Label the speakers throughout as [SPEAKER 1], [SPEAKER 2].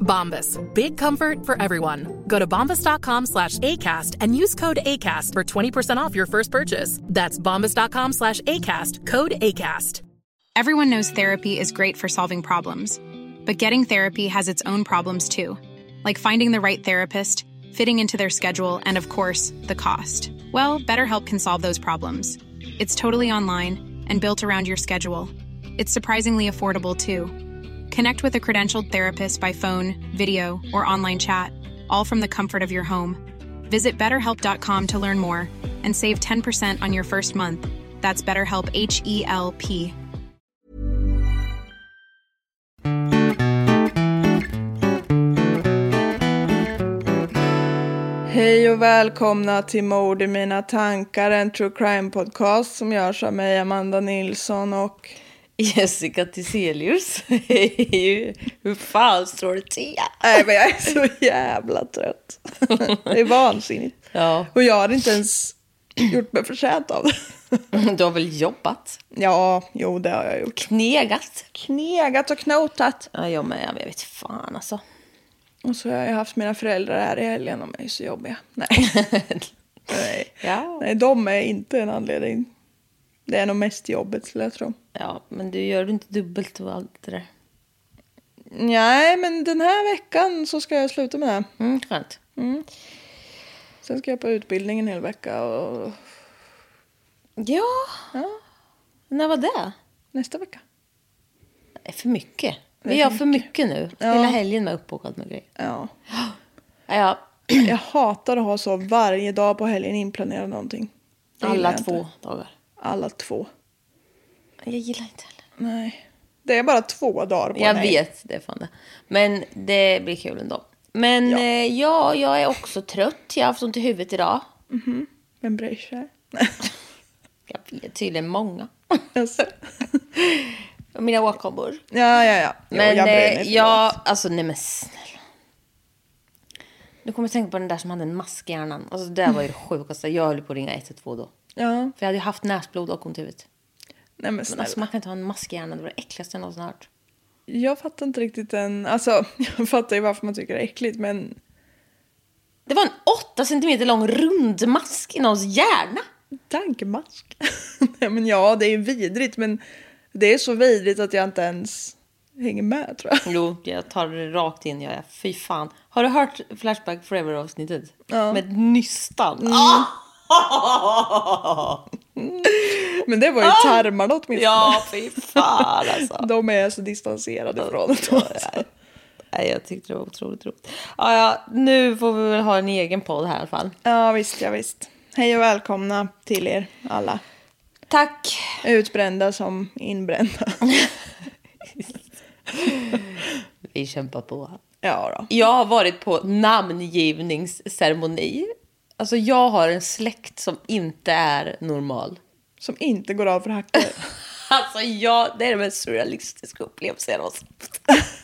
[SPEAKER 1] Bombas. Big comfort for everyone. Go to bombas.com slash ACAST and use code ACAST for 20% off your first purchase. That's bombas.com slash ACAST. Code ACAST.
[SPEAKER 2] Everyone knows therapy is great for solving problems, but getting therapy has its own problems too, like finding the right therapist, fitting into their schedule, and of course, the cost. Well, BetterHelp can solve those problems. It's totally online and built around your schedule. It's surprisingly affordable too. Connect with a credentialed therapist by phone, video, or online chat, all from the comfort of your home. Visit betterhelp.com to learn more and save 10% on your first month. That's BetterHelp H E L P.
[SPEAKER 3] Hej och välkomna till Mord i mina tankar, en true crime podcast som görs av mig, Amanda Nilsson och
[SPEAKER 4] Jessica Tiselius. Hej! Hur fan står det till?
[SPEAKER 3] Nej, men jag är så jävla trött. Det är vansinnigt.
[SPEAKER 4] Ja,
[SPEAKER 3] Och jag har inte ens gjort mig förtjänt av det.
[SPEAKER 4] du har väl jobbat?
[SPEAKER 3] Ja, jo, det har jag gjort.
[SPEAKER 4] Knegat?
[SPEAKER 3] Knegat och knotat.
[SPEAKER 4] Ja, jag med. Jag vet fan alltså.
[SPEAKER 3] Och så har jag haft mina föräldrar här i helgen. De är ju så jobbiga. Nej. Nej.
[SPEAKER 4] Ja.
[SPEAKER 3] Nej, de är inte en anledning. Det är nog mest jobbet, skulle jag tro.
[SPEAKER 4] ja, men du gör inte dubbelt och allt det där.
[SPEAKER 3] Nej, men den här veckan så ska jag sluta med det.
[SPEAKER 4] Mm, skönt.
[SPEAKER 3] Sen ska jag på utbildning en hel vecka och
[SPEAKER 4] Ja. När var det?
[SPEAKER 3] nästa vecka.
[SPEAKER 4] Nej, för mycket.
[SPEAKER 3] Det
[SPEAKER 4] Vi
[SPEAKER 3] är
[SPEAKER 4] har
[SPEAKER 3] för
[SPEAKER 4] för mycket nu.
[SPEAKER 3] Ja.
[SPEAKER 4] Hela helgen var uppbokad med grejer.
[SPEAKER 3] Ja.
[SPEAKER 4] Ja,
[SPEAKER 3] Jag hatar att ha så varje dag på helgen inplanerat någonting. Det gillar
[SPEAKER 4] alla
[SPEAKER 3] jag
[SPEAKER 4] två
[SPEAKER 3] Inte.
[SPEAKER 4] dagar.
[SPEAKER 3] Alla två.
[SPEAKER 4] Jag gillar inte heller.
[SPEAKER 3] Nej. Det är bara två dagar på
[SPEAKER 4] Jag
[SPEAKER 3] en helg.
[SPEAKER 4] vet, det är fan det. Men det blir kul ändå. Men
[SPEAKER 3] Ja.
[SPEAKER 4] ja, eh, ja jag är också trött. Jag har haft ont i huvudet idag.
[SPEAKER 3] Vem bryr sig?
[SPEAKER 4] Jag vet, tydligen många.
[SPEAKER 3] Alltså.
[SPEAKER 4] Och Mina åkommor.
[SPEAKER 3] Ja, ja, ja. Jo,
[SPEAKER 4] Men eh,
[SPEAKER 3] jag
[SPEAKER 4] jag,
[SPEAKER 3] bryr mig inte.
[SPEAKER 4] jag alltså nej men snälla. Nu kommer jag tänka på den där som hade en mask i hjärnan. Alltså det var ju det sjukaste. Jag höll på att ringa 112 då.
[SPEAKER 3] Ja.
[SPEAKER 4] För jag hade ju haft näsblod och ont i huvudet.
[SPEAKER 3] Nej, men
[SPEAKER 4] Men
[SPEAKER 3] snälla.
[SPEAKER 4] alltså man kan inte ha en mask i hjärnan. Det var det äckligaste jag någonsin hört.
[SPEAKER 3] Jag fattar inte riktigt den... Alltså, jag fattar ju varför man tycker det är äckligt, men...
[SPEAKER 4] Det var en 8 centimeter lång rund mask i någons hjärna.
[SPEAKER 3] Tankemask? Nej, men ja, det är ju vidrigt, men det är så vidrigt att jag inte ens hänger med, tror jag.
[SPEAKER 4] Jo, jag tar det rakt in. Jag är. Fy fan. Har du hört Flashback Forever-avsnittet?
[SPEAKER 3] Ja. Mm.
[SPEAKER 4] Med nystan. Ah!
[SPEAKER 3] Men det var ju tarmarna åtminstone.
[SPEAKER 4] Ja, fy fan alltså.
[SPEAKER 3] De är så distanserade från det. Alltså.
[SPEAKER 4] Nej, jag tyckte det var otroligt roligt. Ja, ja, nu får vi väl ha en egen podd här i alla fall.
[SPEAKER 3] Ja, visst, ja, visst. Hej och välkomna till er alla.
[SPEAKER 4] Tack.
[SPEAKER 3] Utbrända som inbrända.
[SPEAKER 4] Vi kämpar på.
[SPEAKER 3] Ja då.
[SPEAKER 4] Jag har varit på namngivningsceremoni. Alltså jag har en släkt som inte är normal.
[SPEAKER 3] Som inte går av för hackor.
[SPEAKER 4] Alltså jag, det är den mest surrealistiska upplevelsen jag någonsin haft.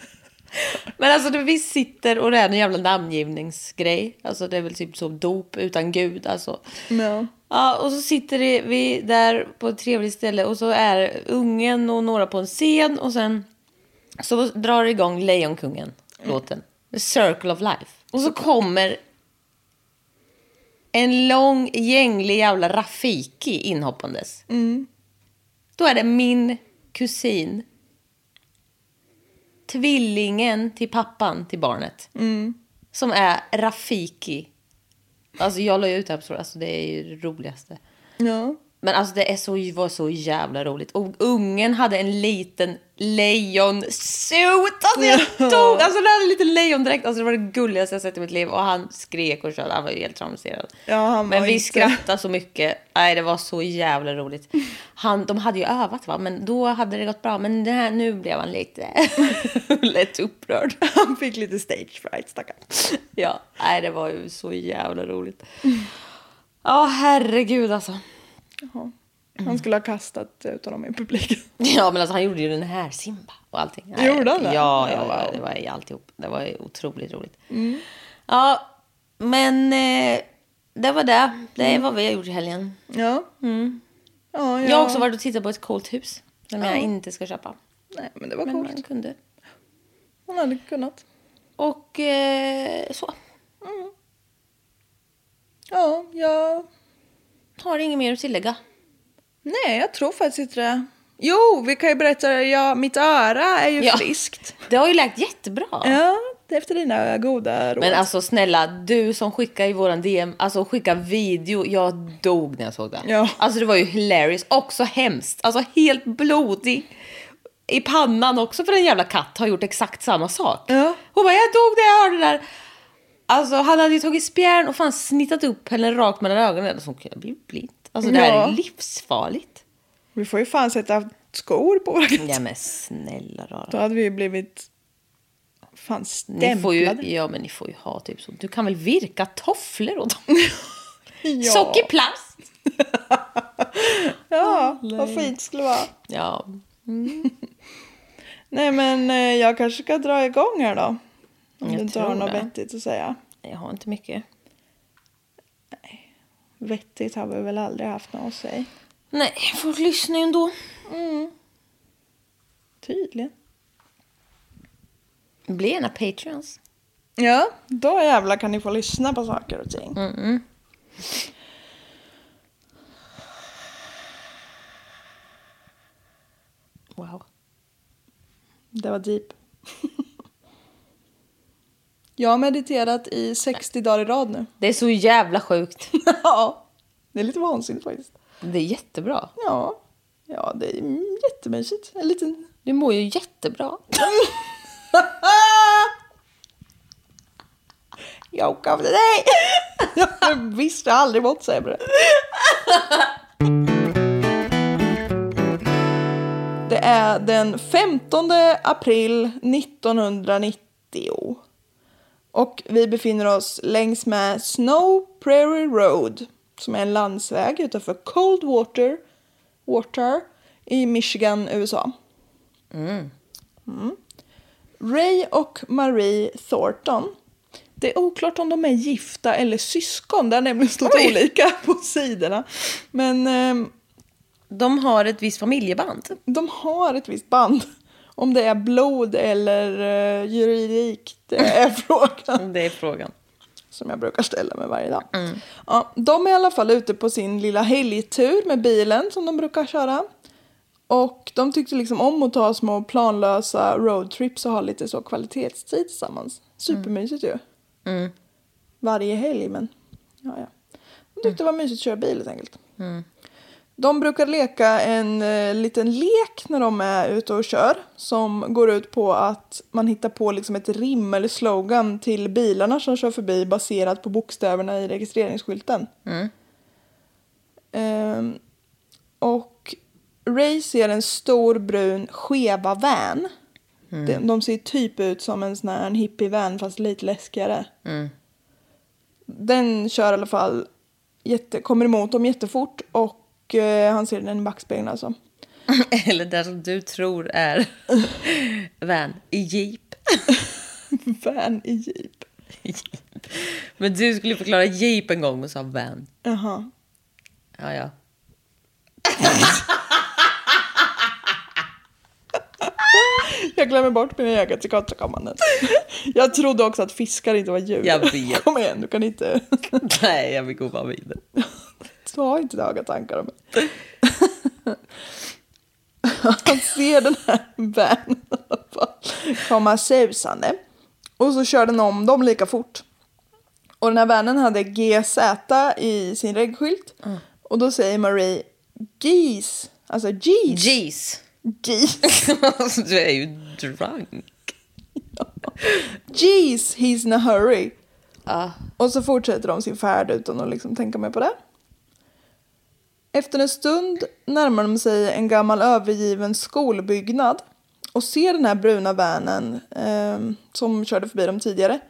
[SPEAKER 4] Men alltså det- vi sitter och det är en jävla namngivningsgrej. Alltså det är väl typ som dop utan gud alltså.
[SPEAKER 3] Ja.
[SPEAKER 4] Ja, och så sitter det- vi där på ett trevligt ställe och så är ungen och några på en scen och sen så drar det igång Lejonkungen-låten. The Circle of Life. Och så kommer en lång gänglig jävla Rafiki inhoppandes. Då är det min kusin. Tvillingen till pappan till barnet. Som är Rafiki. Alltså jag la ju ut det här på story. alltså det är ju det roligaste.
[SPEAKER 3] ja.
[SPEAKER 4] Men alltså det är så, var så jävla roligt. Och ungen hade en liten lejonsuit. Alltså jag
[SPEAKER 3] Ja.
[SPEAKER 4] dog! Alltså den hade en liten lejondräkt. Alltså det var det gulligaste jag sett i mitt liv. Och han skrek och körde. Han var ju helt traumatiserad.
[SPEAKER 3] Ja, han
[SPEAKER 4] Men
[SPEAKER 3] var
[SPEAKER 4] vi
[SPEAKER 3] inte-
[SPEAKER 4] skrattade så mycket. Nej, det var så jävla roligt. Han, de hade ju övat va, men då hade det gått bra. Men det här, nu blev han lite lätt upprörd.
[SPEAKER 3] Han fick lite stage fright, stackarn.
[SPEAKER 4] Ja, nej, det var ju så jävla roligt. Ja, herregud alltså.
[SPEAKER 3] Han skulle ha kastat ut honom i publiken.
[SPEAKER 4] Ja, men alltså han gjorde ju den här Simba och allting. Nej,
[SPEAKER 3] Gjorde han det?
[SPEAKER 4] Ja, ja,
[SPEAKER 3] Ja, Mm.
[SPEAKER 4] ja,
[SPEAKER 3] wow.
[SPEAKER 4] det var ju alltihop. Det var ju otroligt roligt. Ja, men eh, det var det. Det är
[SPEAKER 3] Mm.
[SPEAKER 4] vad vi har gjort i helgen.
[SPEAKER 3] Ja. Ja, ja.
[SPEAKER 4] Mm. Jag har också varit och tittat på ett coolt hus som jag inte ska köpa.
[SPEAKER 3] Nej, men det var
[SPEAKER 4] Men man
[SPEAKER 3] coolt.
[SPEAKER 4] kunde.
[SPEAKER 3] Hon hade kunnat.
[SPEAKER 4] Och eh, så.
[SPEAKER 3] Ja, ja.
[SPEAKER 4] Har inget mer att tillägga.
[SPEAKER 3] Nej, jag tror faktiskt inte det. Jo, vi kan ju berätta. Ja, mitt öra är ju
[SPEAKER 4] Ja.
[SPEAKER 3] friskt.
[SPEAKER 4] Det har ju läkt jättebra.
[SPEAKER 3] Ja, det är efter dina goda råd.
[SPEAKER 4] Men alltså snälla, du som skickar i våran DM, alltså skicka video. Jag dog när jag såg den.
[SPEAKER 3] Ja.
[SPEAKER 4] Alltså det var ju hilarious. Också hemskt. Alltså helt blodig. I pannan också för en jävla katt har gjort exakt samma sak.
[SPEAKER 3] Ja.
[SPEAKER 4] Hon bara, jag dog när jag hörde det där. Alltså han hade ju tagit spjärn och fan snittat upp henne rakt mellan ögonen. Alltså hon kunde bli blind. Alltså det här
[SPEAKER 3] Ja.
[SPEAKER 4] är livsfarligt.
[SPEAKER 3] Vi får ju fan sätta skor på våra katter.
[SPEAKER 4] Ja men snälla rara.
[SPEAKER 3] Då hade vi ju blivit fan
[SPEAKER 4] Ni får ju,
[SPEAKER 3] stämplade.
[SPEAKER 4] ja men ni får ju ha typ så. Du kan väl virka tofflor åt dem?
[SPEAKER 3] Ja.
[SPEAKER 4] Sockerplast!
[SPEAKER 3] Ja, vad fint skulle det vara.
[SPEAKER 4] Ja.
[SPEAKER 3] Nej, men eh, jag kanske ska dra igång här då. Om
[SPEAKER 4] Jag
[SPEAKER 3] du inte har
[SPEAKER 4] tror
[SPEAKER 3] något
[SPEAKER 4] det.
[SPEAKER 3] vettigt att säga.
[SPEAKER 4] Jag har inte mycket.
[SPEAKER 3] Vettigt har vi väl aldrig haft något att säga.
[SPEAKER 4] Nej, folk lyssnar ju ändå.
[SPEAKER 3] Tydligen.
[SPEAKER 4] Bli gärna patreons.
[SPEAKER 3] Ja, då jävlar kan ni få lyssna på saker och ting.
[SPEAKER 4] Wow.
[SPEAKER 3] Det var deep. jag har mediterat i 60 dagar i rad nu.
[SPEAKER 4] Det är så jävla sjukt.
[SPEAKER 3] ja, det är lite vansinnigt faktiskt.
[SPEAKER 4] Det är jättebra.
[SPEAKER 3] Ja, ja det är mm, jättemysigt. En liten...
[SPEAKER 4] Du mår ju jättebra.
[SPEAKER 3] Jag åker av till dig! Jag visste aldrig mått sämre. Det är den 15 april 1990. Och vi befinner oss längs med Snow Prairie Road som är en landsväg utanför Coldwater Water i Michigan, USA. Mm. Ray och Marie Thornton. Det är oklart om de är gifta eller syskon. Det har nämligen stått olika på sidorna. Men ehm,
[SPEAKER 4] De har ett visst familjeband.
[SPEAKER 3] de har ett visst band. Om det är blod eller eh, juridik, det är frågan.
[SPEAKER 4] Det är frågan.
[SPEAKER 3] som jag brukar ställa mig varje dag. Ja, de är i alla fall ute på sin lilla helgtur med bilen som de brukar köra. Och de tyckte liksom om att ta små planlösa roadtrips och ha lite så kvalitetstid tillsammans. Supermysigt ju. Varje helg men ja ja. De tyckte det var mysigt att köra bil helt enkelt. De brukar leka en eh, liten lek när de är ute och kör som går ut på att man hittar på liksom ett rim eller slogan till bilarna som kör förbi baserat på bokstäverna i registreringsskylten. Ehm, och Ray ser en stor brun skeva van. De, de ser typ ut som en sån här en hippie-van fast lite läskigare. Den kör i alla fall, jätte, kommer emot dem jättefort och eh, han ser den i backspegeln alltså.
[SPEAKER 4] Eller där som du tror är van i jeep.
[SPEAKER 3] Van i jeep.
[SPEAKER 4] Men du skulle förklara jeep en gång och sa van.
[SPEAKER 3] Jaha.
[SPEAKER 4] Ja, ja.
[SPEAKER 3] Jag glömmer bort mina ögon till kottakammaren. Jag trodde också att fiskar inte var djur.
[SPEAKER 4] Jag vet.
[SPEAKER 3] Kom igen, du kan inte...
[SPEAKER 4] Nej, jag vill gå bara vidare.
[SPEAKER 3] Ta inte höga tankar om mig. Han ser den här vanen i alla fall komma susande. Och så kör den om dem lika fort. Och den här vanen hade GZ i sin reggskylt. Och då säger Marie Geese. Alltså geese.
[SPEAKER 4] Jeez.
[SPEAKER 3] geese.
[SPEAKER 4] Alltså, du är ju drunk.
[SPEAKER 3] Geese, he's in a hurry. Och så fortsätter de sin färd utan att liksom tänka mer på det. Efter en stund närmar de sig en gammal övergiven skolbyggnad och ser den här bruna vanen ehm, som körde förbi dem tidigare.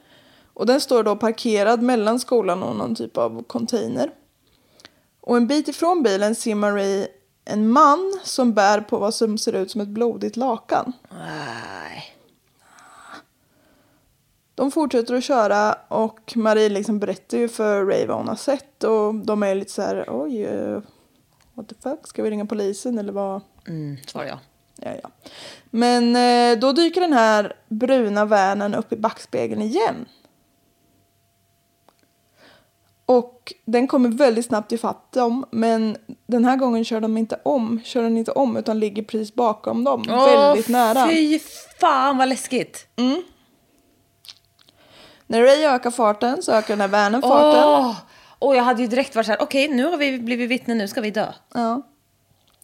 [SPEAKER 3] Och den står då parkerad mellan skolan och någon typ av container. Och en bit ifrån bilen ser Marie en man som bär på vad som ser ut som ett blodigt lakan.
[SPEAKER 4] Nej.
[SPEAKER 3] De fortsätter att köra och Marie liksom berättar ju för Ray vad hon har sett och de är lite så här oj, eh, what the fuck, ska vi ringa polisen eller vad?
[SPEAKER 4] Mm, svarar jag.
[SPEAKER 3] Ja, ja. Men eh, då dyker den här bruna vanen upp i backspegeln igen. Och den kommer väldigt snabbt ifatt dem men den här gången kör de inte om, kör den inte om utan ligger precis bakom dem, väldigt nära.
[SPEAKER 4] Fy fan vad läskigt.
[SPEAKER 3] När Ray ökar farten så ökar den här vanen farten.
[SPEAKER 4] Åh, Åh, jag hade ju direkt varit så här, okej nu har vi blivit vittne, nu ska vi dö.
[SPEAKER 3] Ja.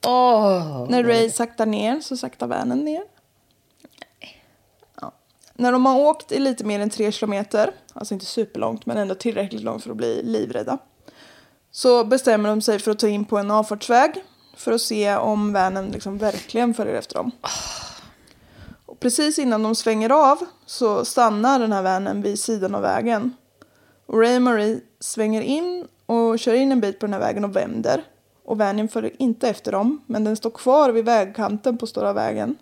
[SPEAKER 4] Åh.
[SPEAKER 3] När Ray saktar ner så saktar vanen ner. Ja. När de har åkt i lite mer än tre kilometer, alltså inte superlångt men ändå tillräckligt långt för att bli livrädda, så bestämmer de sig för att ta in på en avfartsväg för att se om vanen liksom verkligen följer efter dem. Och precis innan de svänger av så stannar den här vanen vid sidan av vägen. Och Ray och Marie svänger in och kör in en bit på den här vägen och vänder. Och vanen följer inte efter dem, men den står kvar vid vägkanten på stora vägen.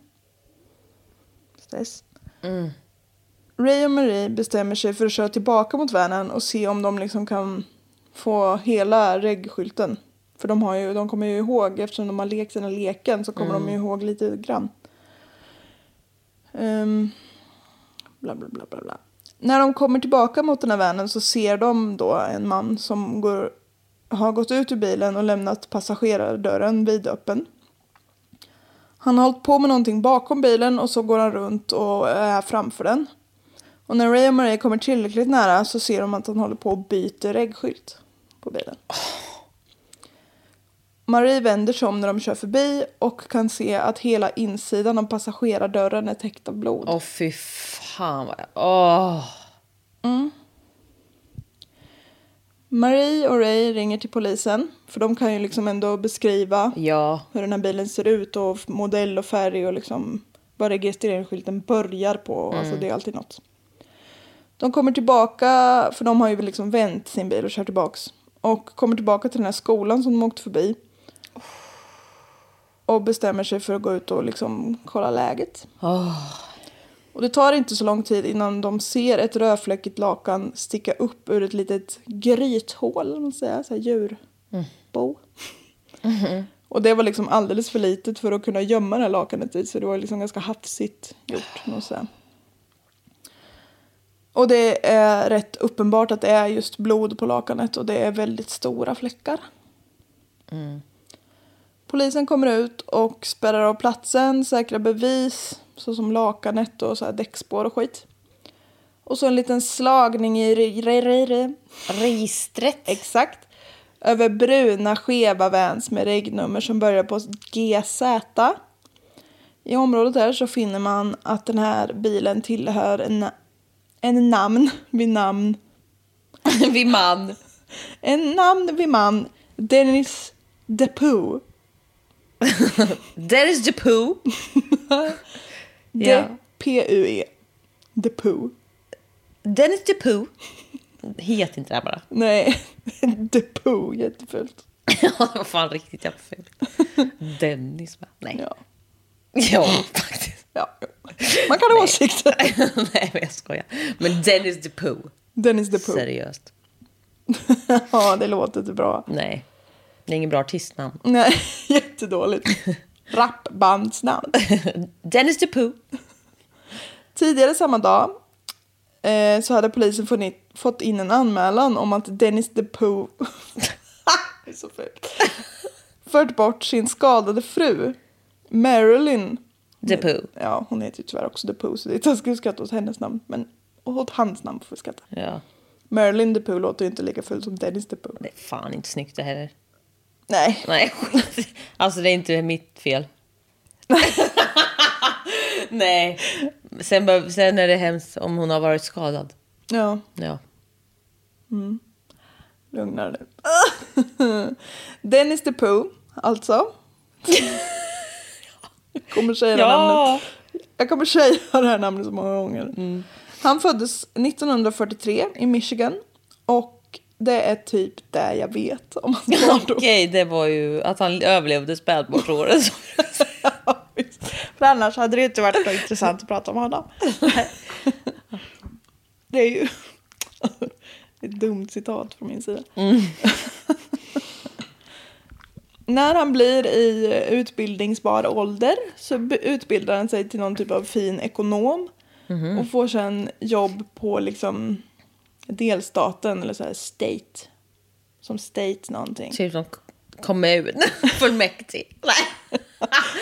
[SPEAKER 3] Stress. Ray och Marie bestämmer sig för att köra tillbaka mot vanen och se om de liksom kan få hela reggskylten. För de, har ju, de kommer ju ihåg, eftersom de har lekt sina leken så kommer de ju ihåg lite grann. Ehm, bla, bla, bla, bla, bla. När de kommer tillbaka mot den här vanen så ser de då en man som går, har gått ut ur bilen och lämnat passagerardörren vidöppen. Han har hållit på med någonting bakom bilen och så går han runt och är framför den. Och när Ray och Marie kommer tillräckligt nära så ser de att han håller på och byter reggskylt på bilen. Marie vänder sig om när de kör förbi och kan se att hela insidan av passagerardörren är täckt av blod.
[SPEAKER 4] Åh fy fan vad jag... Åh.
[SPEAKER 3] Marie och Ray ringer till polisen för de kan ju liksom ändå beskriva
[SPEAKER 4] Ja.
[SPEAKER 3] hur den här bilen ser ut och f- modell och färg och liksom vad registreringsskylten börjar på. Alltså det är alltid något. De kommer tillbaka, för de har ju liksom vänt sin bil och kört tillbaks. Och kommer tillbaka till den här skolan som de åkte förbi. Och bestämmer sig för att gå ut och liksom kolla läget. Och det tar inte så lång tid innan de ser ett rödfläckigt lakan sticka upp ur ett litet grythål, eller vad man säger, så här djurbo. Och det var liksom alldeles för litet för att kunna gömma det här lakanet i så det var liksom ganska hafsigt gjort. måste jag säga. Och det är rätt uppenbart att det är just blod på lakanet och det är väldigt stora fläckar. Polisen kommer ut och spärrar av platsen, säkrar bevis såsom lakanet och så här däckspår och skit. Och så en liten slagning i... Re, re, re, re.
[SPEAKER 4] Registret.
[SPEAKER 3] Exakt. Över bruna skeva vans med regnummer som börjar på GZ. I området där så finner man att den här bilen tillhör en, en namn vid namn.
[SPEAKER 4] vid man.
[SPEAKER 3] En namn vid man. Dennis Depoux.
[SPEAKER 4] There is the poo. Ja.
[SPEAKER 3] D-P-U-E. Depoux.
[SPEAKER 4] Dennis DePoo. Het inte det här bara.
[SPEAKER 3] Nej, Depoux. Jättefult.
[SPEAKER 4] Ja, det var fan riktigt jävla fult. Dennis va? Nej.
[SPEAKER 3] Ja.
[SPEAKER 4] Ja, faktiskt.
[SPEAKER 3] ja. Man kan ha åsikter.
[SPEAKER 4] Nej, men jag skojar. Men Dennis DePoo.
[SPEAKER 3] Dennis Depoux.
[SPEAKER 4] Seriöst.
[SPEAKER 3] Ja, det låter inte bra.
[SPEAKER 4] Nej. Det är ingen bra artistnamn.
[SPEAKER 3] Nej, jättedåligt. Rappbandsnamn.
[SPEAKER 4] Dennis DePoo.
[SPEAKER 3] Tidigare samma dag eh, så hade polisen funnit, fått in en anmälan om att Dennis DePoe Det är så fult. fört bort sin skadade fru Marilyn.
[SPEAKER 4] DePoo.
[SPEAKER 3] Ja, hon heter ju tyvärr också DePoe så det är taskigt att skratta åt hennes namn. Men åt hans namn får vi skratta.
[SPEAKER 4] Ja.
[SPEAKER 3] Marilyn DePoe låter ju inte lika ful som Dennis DePoe.
[SPEAKER 4] Det är fan inte snyggt det heller.
[SPEAKER 3] Nej.
[SPEAKER 4] Nej, skit. Alltså det är inte mitt fel. Nej. Sen, behöv- sen är det hemskt om hon har varit skadad.
[SPEAKER 3] Ja,
[SPEAKER 4] Ja.
[SPEAKER 3] lugna dig nu. Dennis the Pooh, alltså. Kommer säga det namnet. Jag kommer säga det här namnet så många gånger. Han föddes 1943 i Michigan. Och det är typ det jag vet om hans barndom.
[SPEAKER 4] Okej, det var ju att han överlevde spädbarnsåren.
[SPEAKER 3] Ja, visst. För annars hade det ju inte varit så intressant att prata om honom. Det är ju ett dumt citat från min sida.
[SPEAKER 4] Mm.
[SPEAKER 3] När han blir i utbildningsbar ålder så be- utbildar han sig till någon typ av fin ekonom
[SPEAKER 4] Mhm.
[SPEAKER 3] och får sen jobb på liksom delstaten eller så här state. Som state någonting.
[SPEAKER 4] Ser ut Typ som kommun. Fullmäktig. Nej.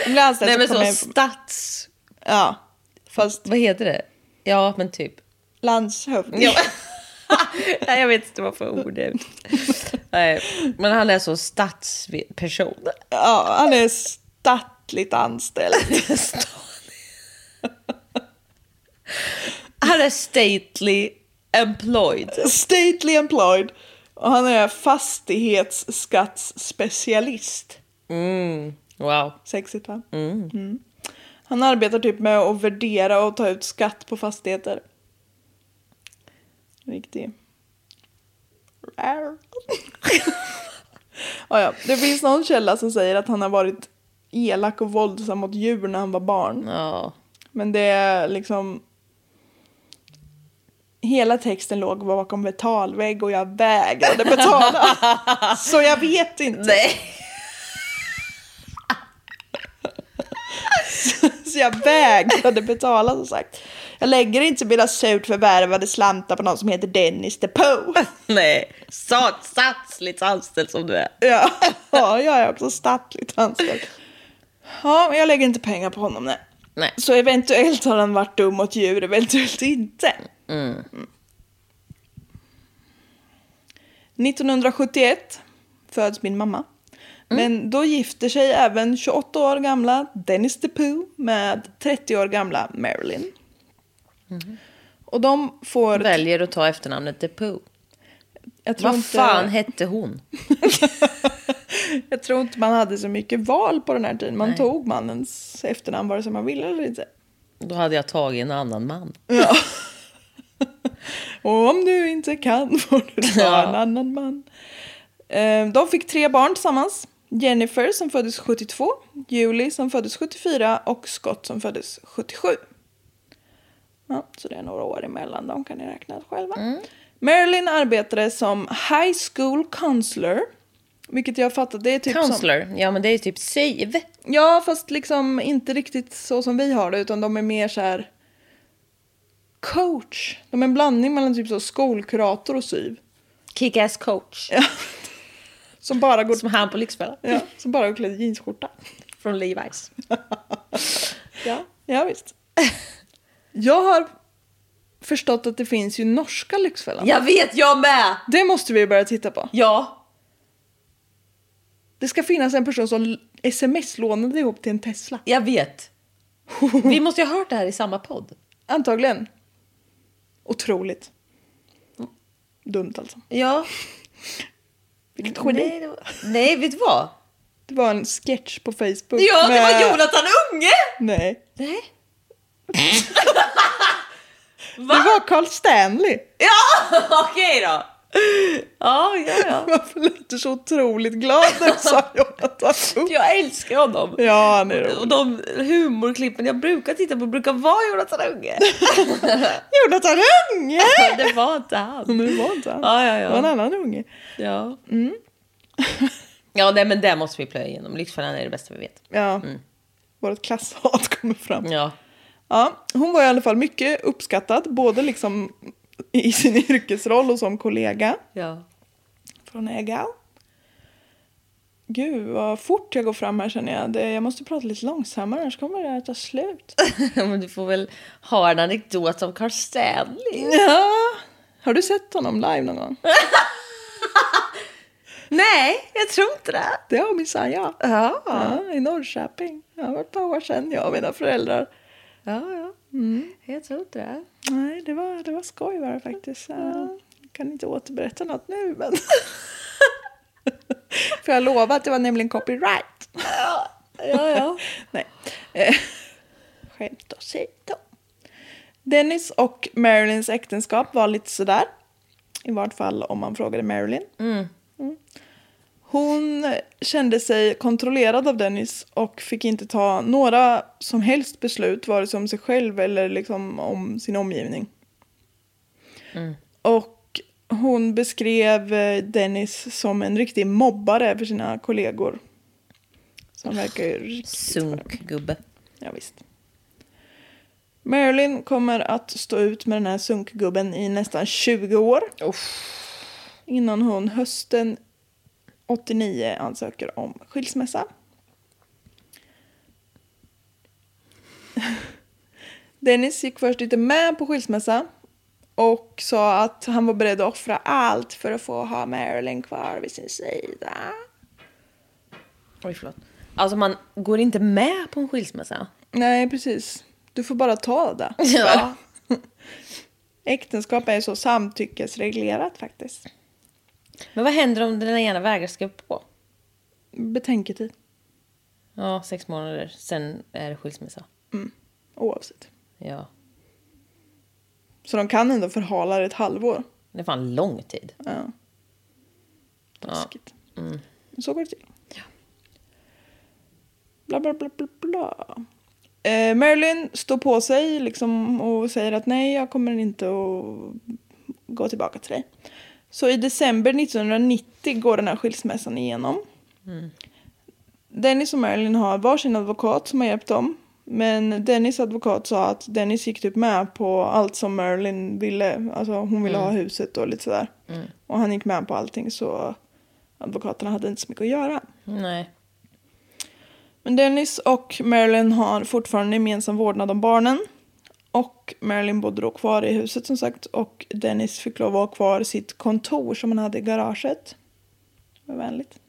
[SPEAKER 3] Blir anställd
[SPEAKER 4] Nej men
[SPEAKER 3] som
[SPEAKER 4] så
[SPEAKER 3] kommun-
[SPEAKER 4] stats...
[SPEAKER 3] Ja, fast
[SPEAKER 4] Vad heter det? Ja men typ.
[SPEAKER 3] landshövding.
[SPEAKER 4] Ja. Nej, jag vet inte vad för ord det är. Nej, men han är så statsperson.
[SPEAKER 3] Ja, han är statligt anställd.
[SPEAKER 4] Han är stately employed.
[SPEAKER 3] Stately employed. Och han är fastighetsskattsspecialist.
[SPEAKER 4] Wow.
[SPEAKER 3] Sexigt va? Mm. Han arbetar typ med att värdera och ta ut skatt på fastigheter. Riktig. Rar. ja, ja. Det finns någon källa som säger att han har varit elak och våldsam mot djur när han var barn.
[SPEAKER 4] Ja.
[SPEAKER 3] Men det är liksom... Hela texten låg bakom betalvägg och jag vägrade betala. så jag vet inte.
[SPEAKER 4] Nej.
[SPEAKER 3] Så jag vägrade betala som sagt. Jag lägger inte mina surt förvärvade slantar på någon som heter Dennis the Pooh.
[SPEAKER 4] Nej. Stat, statsligt anställd som du är.
[SPEAKER 3] Ja. ja, jag är också statligt anställd. Ja, men jag lägger inte pengar på honom nej.
[SPEAKER 4] Nej.
[SPEAKER 3] Så eventuellt har han varit dum mot djur, eventuellt inte.
[SPEAKER 4] Mm.
[SPEAKER 3] Mm. 1971 föds min mamma.
[SPEAKER 4] Mm.
[SPEAKER 3] Men då gifter sig även 28 år gamla Dennis DePoo med 30 år gamla Marilyn.
[SPEAKER 4] Mm.
[SPEAKER 3] Och de får...
[SPEAKER 4] Väljer att ta efternamnet The Pooh.
[SPEAKER 3] jag tror
[SPEAKER 4] Vad
[SPEAKER 3] inte-
[SPEAKER 4] fan hette hon?
[SPEAKER 3] Jag tror inte man hade så mycket val på den här tiden. Man tog mannens efternamn vare sig man ville eller inte.
[SPEAKER 4] Då hade jag tagit en annan man.
[SPEAKER 3] Och om du inte kan får du ta
[SPEAKER 4] Ja.
[SPEAKER 3] en annan man. Eh, De fick tre barn tillsammans. Jennifer som föddes 72, Julie som föddes 74 och Scott som föddes 77. Ja, så det är några år emellan dem kan ni räkna ut själva.
[SPEAKER 4] Mm.
[SPEAKER 3] Marilyn arbetade som high school counselor. Vilket jag har fattat, det är typ som...
[SPEAKER 4] Counselor. Ja, men det är ju typ save.
[SPEAKER 3] Ja, fast liksom inte riktigt så som vi har det, utan de är mer så här coach. De är en blandning mellan typ så skolkurator och syv.
[SPEAKER 4] Kick-ass coach.
[SPEAKER 3] Som bara går,
[SPEAKER 4] Som han på Lyxfällan.
[SPEAKER 3] ja, som bara går klädd i jeansskjorta.
[SPEAKER 4] Från Levi's.
[SPEAKER 3] Ja, ja visst. Jag har förstått att det finns ju norska Lyxfällan.
[SPEAKER 4] Jag vet, jag med!
[SPEAKER 3] Det måste vi börja titta på.
[SPEAKER 4] Ja.
[SPEAKER 3] Det ska finnas en person som sms-lånade ihop till en Tesla.
[SPEAKER 4] Jag vet. Vi måste ju ha hört det här i samma podd.
[SPEAKER 3] Antagligen. Otroligt. Dumt alltså.
[SPEAKER 4] Ja.
[SPEAKER 3] Vilket geni.
[SPEAKER 4] Nej, det var... Nej, vet du vad?
[SPEAKER 3] Det var en sketch på Facebook.
[SPEAKER 4] Ja, det
[SPEAKER 3] med-
[SPEAKER 4] var Jonathan Unge!
[SPEAKER 3] Nej.
[SPEAKER 4] Nej.
[SPEAKER 3] Det var Carl Stanley.
[SPEAKER 4] Ja, okej då. Ja, ja, ja.
[SPEAKER 3] Varför lät du så otroligt glad när du sa Jonathan Unge?
[SPEAKER 4] Jag älskar honom.
[SPEAKER 3] Ja, han är rolig.
[SPEAKER 4] Och de humorklippen jag brukar titta på brukar vara Jonathan Unge.
[SPEAKER 3] Jonathan Unge!
[SPEAKER 4] Det var inte han.
[SPEAKER 3] Nu var inte han.
[SPEAKER 4] Ja, ja, ja.
[SPEAKER 3] Det var en annan unge.
[SPEAKER 4] Ja. Mm. Ja, nej, men det måste vi plöja igenom. Lyxfällan är det bästa vi vet.
[SPEAKER 3] Ja.
[SPEAKER 4] Mm.
[SPEAKER 3] Vårt klasshat kommer fram.
[SPEAKER 4] Ja.
[SPEAKER 3] Ja, hon var i alla fall mycket uppskattad, både liksom i sin yrkesroll och som kollega
[SPEAKER 4] Ja.
[SPEAKER 3] från Egau. Gud, vad fort jag går fram här känner jag. Det, jag måste prata lite långsammare, annars kommer det här ta slut.
[SPEAKER 4] Men du får väl ha en anekdot om Carl Stanley.
[SPEAKER 3] Ja. Har du sett honom live någon gång?
[SPEAKER 4] Nej, jag tror inte det.
[SPEAKER 3] Det har minsann jag. Ja. I Norrköping. Ja, Det var ett par år sedan, jag och mina föräldrar.
[SPEAKER 4] Ja, ja. Jag tror inte det.
[SPEAKER 3] Nej, det var, det var skoj var det faktiskt. Ja. Jag kan inte återberätta något nu, men... För jag lovade att det var nämligen copyright. Ja,
[SPEAKER 4] ja.
[SPEAKER 3] Nej. Eh, Skämt åsido. Dennis och Marilyns äktenskap var lite sådär. I vart fall om man frågade Marilyn. Mm. Hon kände sig kontrollerad av Dennis och fick inte ta några som helst beslut vare sig om sig själv eller liksom om sin omgivning. Och hon beskrev eh, Dennis som en riktig mobbare för sina kollegor. Som verkar ju riktigt
[SPEAKER 4] Sunkgubbe.
[SPEAKER 3] Ja, visst. Marilyn kommer att stå ut med den här sunkgubben i nästan 20 år. Innan hon hösten 89 ansöker om skilsmässa. Dennis gick först inte med på skilsmässa och sa att han var beredd att offra allt för att få ha Marilyn kvar vid sin sida.
[SPEAKER 4] Oj, förlåt. Alltså man går inte med på en skilsmässa.
[SPEAKER 3] Nej, precis. Du får bara ta det.
[SPEAKER 4] Ja.
[SPEAKER 3] Äktenskap är så samtyckesreglerat faktiskt.
[SPEAKER 4] Men vad händer om den ena vägrar skriva på?
[SPEAKER 3] Betänketid.
[SPEAKER 4] Ja, sex månader. Sen är det skilsmässa.
[SPEAKER 3] Oavsett.
[SPEAKER 4] Ja.
[SPEAKER 3] Så de kan ändå förhala det ett halvår.
[SPEAKER 4] Det är fan lång tid.
[SPEAKER 3] Ja. Taskigt. Men Så går det till. Bla, bla, bla, bla, bla. Eh, Marilyn står på sig liksom, och säger att nej, jag kommer inte att gå tillbaka till dig. Så i december 1990 går den här skilsmässan igenom. Dennis och Marilyn har varsin advokat som har hjälpt dem. Men Dennis advokat sa att Dennis gick typ med på allt som Marilyn ville. Alltså hon ville ha huset och lite sådär. Och han gick med på allting så advokaterna hade inte så mycket att göra.
[SPEAKER 4] Nej.
[SPEAKER 3] Men Dennis och Marilyn har fortfarande gemensam vårdnad om barnen. Och Marilyn bodde då kvar i huset som sagt och Dennis fick lov att ha kvar sitt kontor som han hade i garaget. Det var vänligt.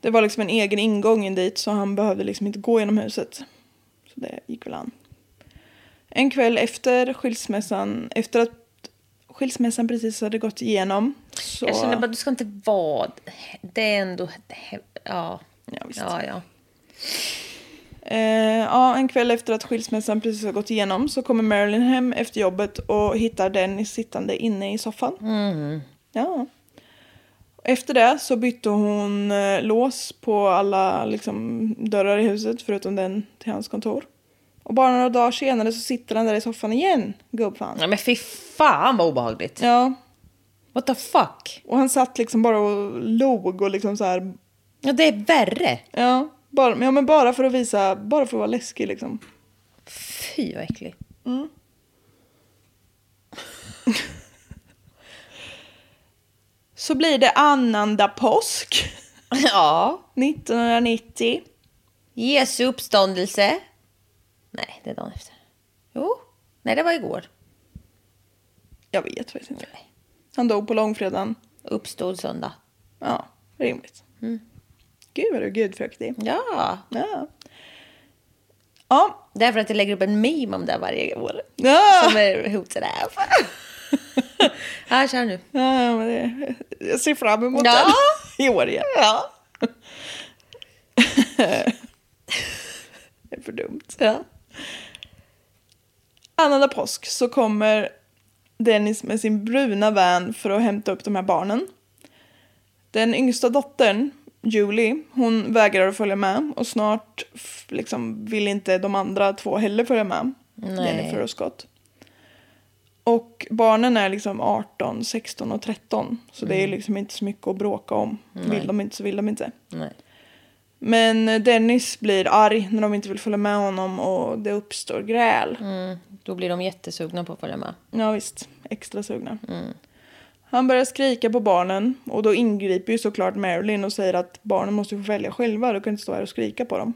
[SPEAKER 3] Det var liksom en egen ingång in dit så han behövde liksom inte gå genom huset. Så det gick väl an. En kväll efter skilsmässan, efter att skilsmässan precis hade gått igenom. Så...
[SPEAKER 4] Jag känner bara, du ska inte vara... Det är ändå... det- Ja.
[SPEAKER 3] Ja, visst.
[SPEAKER 4] Ja, ja.
[SPEAKER 3] Eh, ja, en kväll efter att skilsmässan precis har gått igenom så kommer Marilyn hem efter jobbet och hittar Dennis sittande inne i soffan. Ja. Efter det så bytte hon eh, lås på alla liksom, dörrar i huset förutom den till hans kontor. Och bara några dagar senare så sitter han där i soffan igen, gubbfan.
[SPEAKER 4] Nej, men fy fan vad obehagligt.
[SPEAKER 3] Ja,
[SPEAKER 4] What the fuck?
[SPEAKER 3] och han satt liksom bara och log och liksom så här,
[SPEAKER 4] Ja, det är värre.
[SPEAKER 3] ja, bara, ja men bara för att visa, bara för att vara läskig liksom.
[SPEAKER 4] Fy vad äcklig.
[SPEAKER 3] Så blir det annandag påsk.
[SPEAKER 4] Ja.
[SPEAKER 3] 1990.
[SPEAKER 4] Jesu uppståndelse. Nej, det är dagen efter. Jo. Nej, det var igår.
[SPEAKER 3] Jag vet faktiskt inte. Han dog på långfredagen.
[SPEAKER 4] Uppstod söndag.
[SPEAKER 3] Ja, rimligt.
[SPEAKER 4] Mm.
[SPEAKER 3] Gud vad du är gudfruktig.
[SPEAKER 4] Ja.
[SPEAKER 3] Ja. Ja.
[SPEAKER 4] Därför att jag lägger upp en meme om det varje år.
[SPEAKER 3] Ja.
[SPEAKER 4] Som är hotad av. Ja, kör nu.
[SPEAKER 3] ja, ja, men det, jag ser fram emot
[SPEAKER 4] Ja.
[SPEAKER 3] den i år igen. Ja. det är för dumt.
[SPEAKER 4] Ja.
[SPEAKER 3] Annandag påsk så kommer Dennis med sin bruna van för att hämta upp de här barnen. Den yngsta dottern, Julie, hon vägrar att följa med och snart f- liksom, vill inte de andra två heller följa med.
[SPEAKER 4] Nej.
[SPEAKER 3] Jennifer och Scott. Och barnen är liksom 18, 16 och 13 så det är liksom inte så mycket att bråka om. Vill de inte så vill de inte.
[SPEAKER 4] Nej.
[SPEAKER 3] Men Dennis blir arg när de inte vill följa med honom och det uppstår gräl.
[SPEAKER 4] Mm, då blir de jättesugna på att följa med.
[SPEAKER 3] Ja visst, extra sugna. Han börjar skrika på barnen och då ingriper ju såklart Marilyn och säger att barnen måste få välja själva, du kan inte stå här och skrika på dem.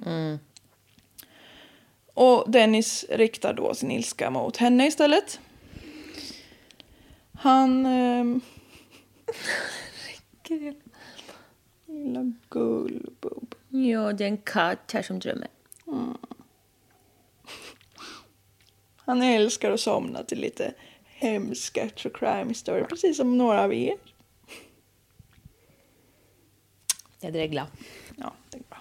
[SPEAKER 3] Och Dennis riktar då sin ilska mot henne istället. Han... ehm, lilla gullbub.
[SPEAKER 4] Ja, det är en katt här som drömmer.
[SPEAKER 3] Han älskar att somna till lite hemska true crime story, precis som några av er.
[SPEAKER 4] Jag dreglar.
[SPEAKER 3] Ja, det är bra.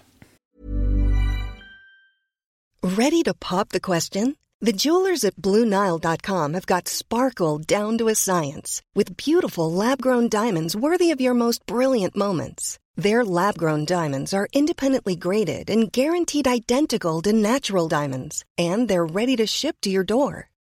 [SPEAKER 5] Ready to pop the question? The jewelers at BlueNile.com have got sparkle down to a science with beautiful lab grown diamonds worthy of your most brilliant moments. Their lab grown diamonds are independently graded and guaranteed identical to natural diamonds, and they're ready to ship to your door.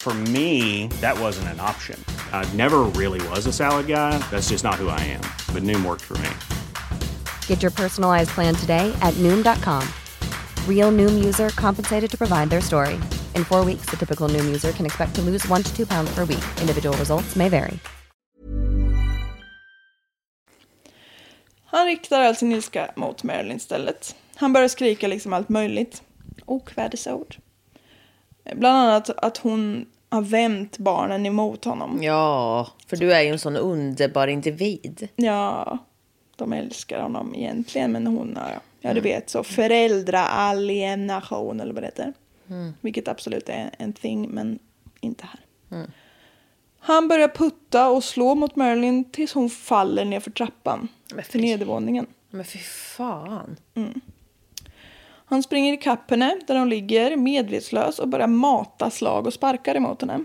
[SPEAKER 6] For me, that wasn't an option. I never really was a salad guy. That's just not who I am. But Noom worked for me.
[SPEAKER 7] Get your personalized plan today at Noom.com. Real Noom user compensated to provide their story. In four weeks, the typical Noom user can expect to lose one to two pounds per week. Individual results may vary.
[SPEAKER 3] Han riktar all sin ilska mot Marilyn istället. Han börjar skrika liksom allt möjligt. Okvädesord. Bland annat att hon har vänt barnen emot honom.
[SPEAKER 4] Ja, för du är ju en sån underbar individ.
[SPEAKER 3] Ja, de älskar honom egentligen men hon har, ja du
[SPEAKER 4] Mm.
[SPEAKER 3] vet så föräldraalienation eller vad det heter.
[SPEAKER 4] Mm.
[SPEAKER 3] Vilket absolut är en thing men inte här.
[SPEAKER 4] Mm.
[SPEAKER 3] Han börjar putta och slå mot Marilyn tills hon faller ner för trappan.
[SPEAKER 4] Men fy.
[SPEAKER 3] För nedervåningen.
[SPEAKER 4] Men fy fan.
[SPEAKER 3] Han springer ikapp henne där hon ligger medvetslös och börjar mata slag och sparkar emot henne.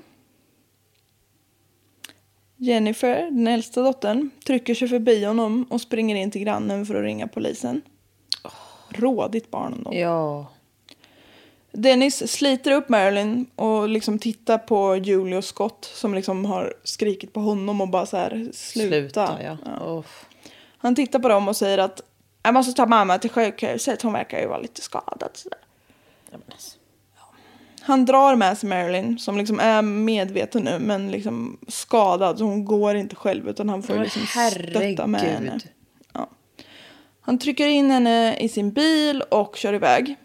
[SPEAKER 3] Jennifer, den äldsta dottern, trycker sig förbi honom och springer in till grannen för att ringa polisen. Rådigt barn ändå.
[SPEAKER 4] Ja.
[SPEAKER 3] Dennis sliter upp Marilyn och liksom tittar på Julie och Scott som liksom har skrikit på honom och bara så här sluta.
[SPEAKER 4] Sluta, ja. Åh.
[SPEAKER 3] Han tittar på dem och säger att jag måste ta mamma till sjukhuset, hon verkar ju vara lite skadad. Så där.
[SPEAKER 4] Ja, men alltså.
[SPEAKER 3] Han drar med sig Marilyn som liksom är medveten nu men liksom skadad så hon går inte själv utan han får
[SPEAKER 4] Men
[SPEAKER 3] liksom stötta med henne.
[SPEAKER 4] herregud.
[SPEAKER 3] Ja. Han trycker in henne i sin bil och kör iväg.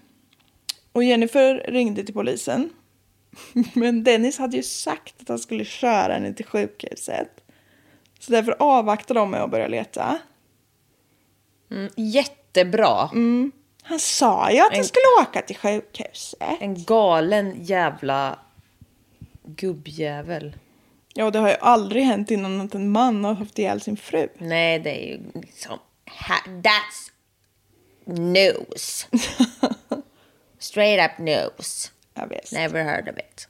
[SPEAKER 3] Och Jennifer ringde till polisen. Men Dennis hade ju sagt att han skulle köra henne till sjukhuset. Så därför avvaktade de med att börja leta.
[SPEAKER 4] Mm, jättebra.
[SPEAKER 3] Han sa ju att han skulle åka till sjukhuset.
[SPEAKER 4] En galen jävla gubbjävel.
[SPEAKER 3] Ja, och det har ju aldrig hänt innan att en man har haft ihjäl sin fru.
[SPEAKER 4] Nej, det är ju liksom... Ha, that's news. Straight up news.
[SPEAKER 3] Jag vet.
[SPEAKER 4] Never heard of it.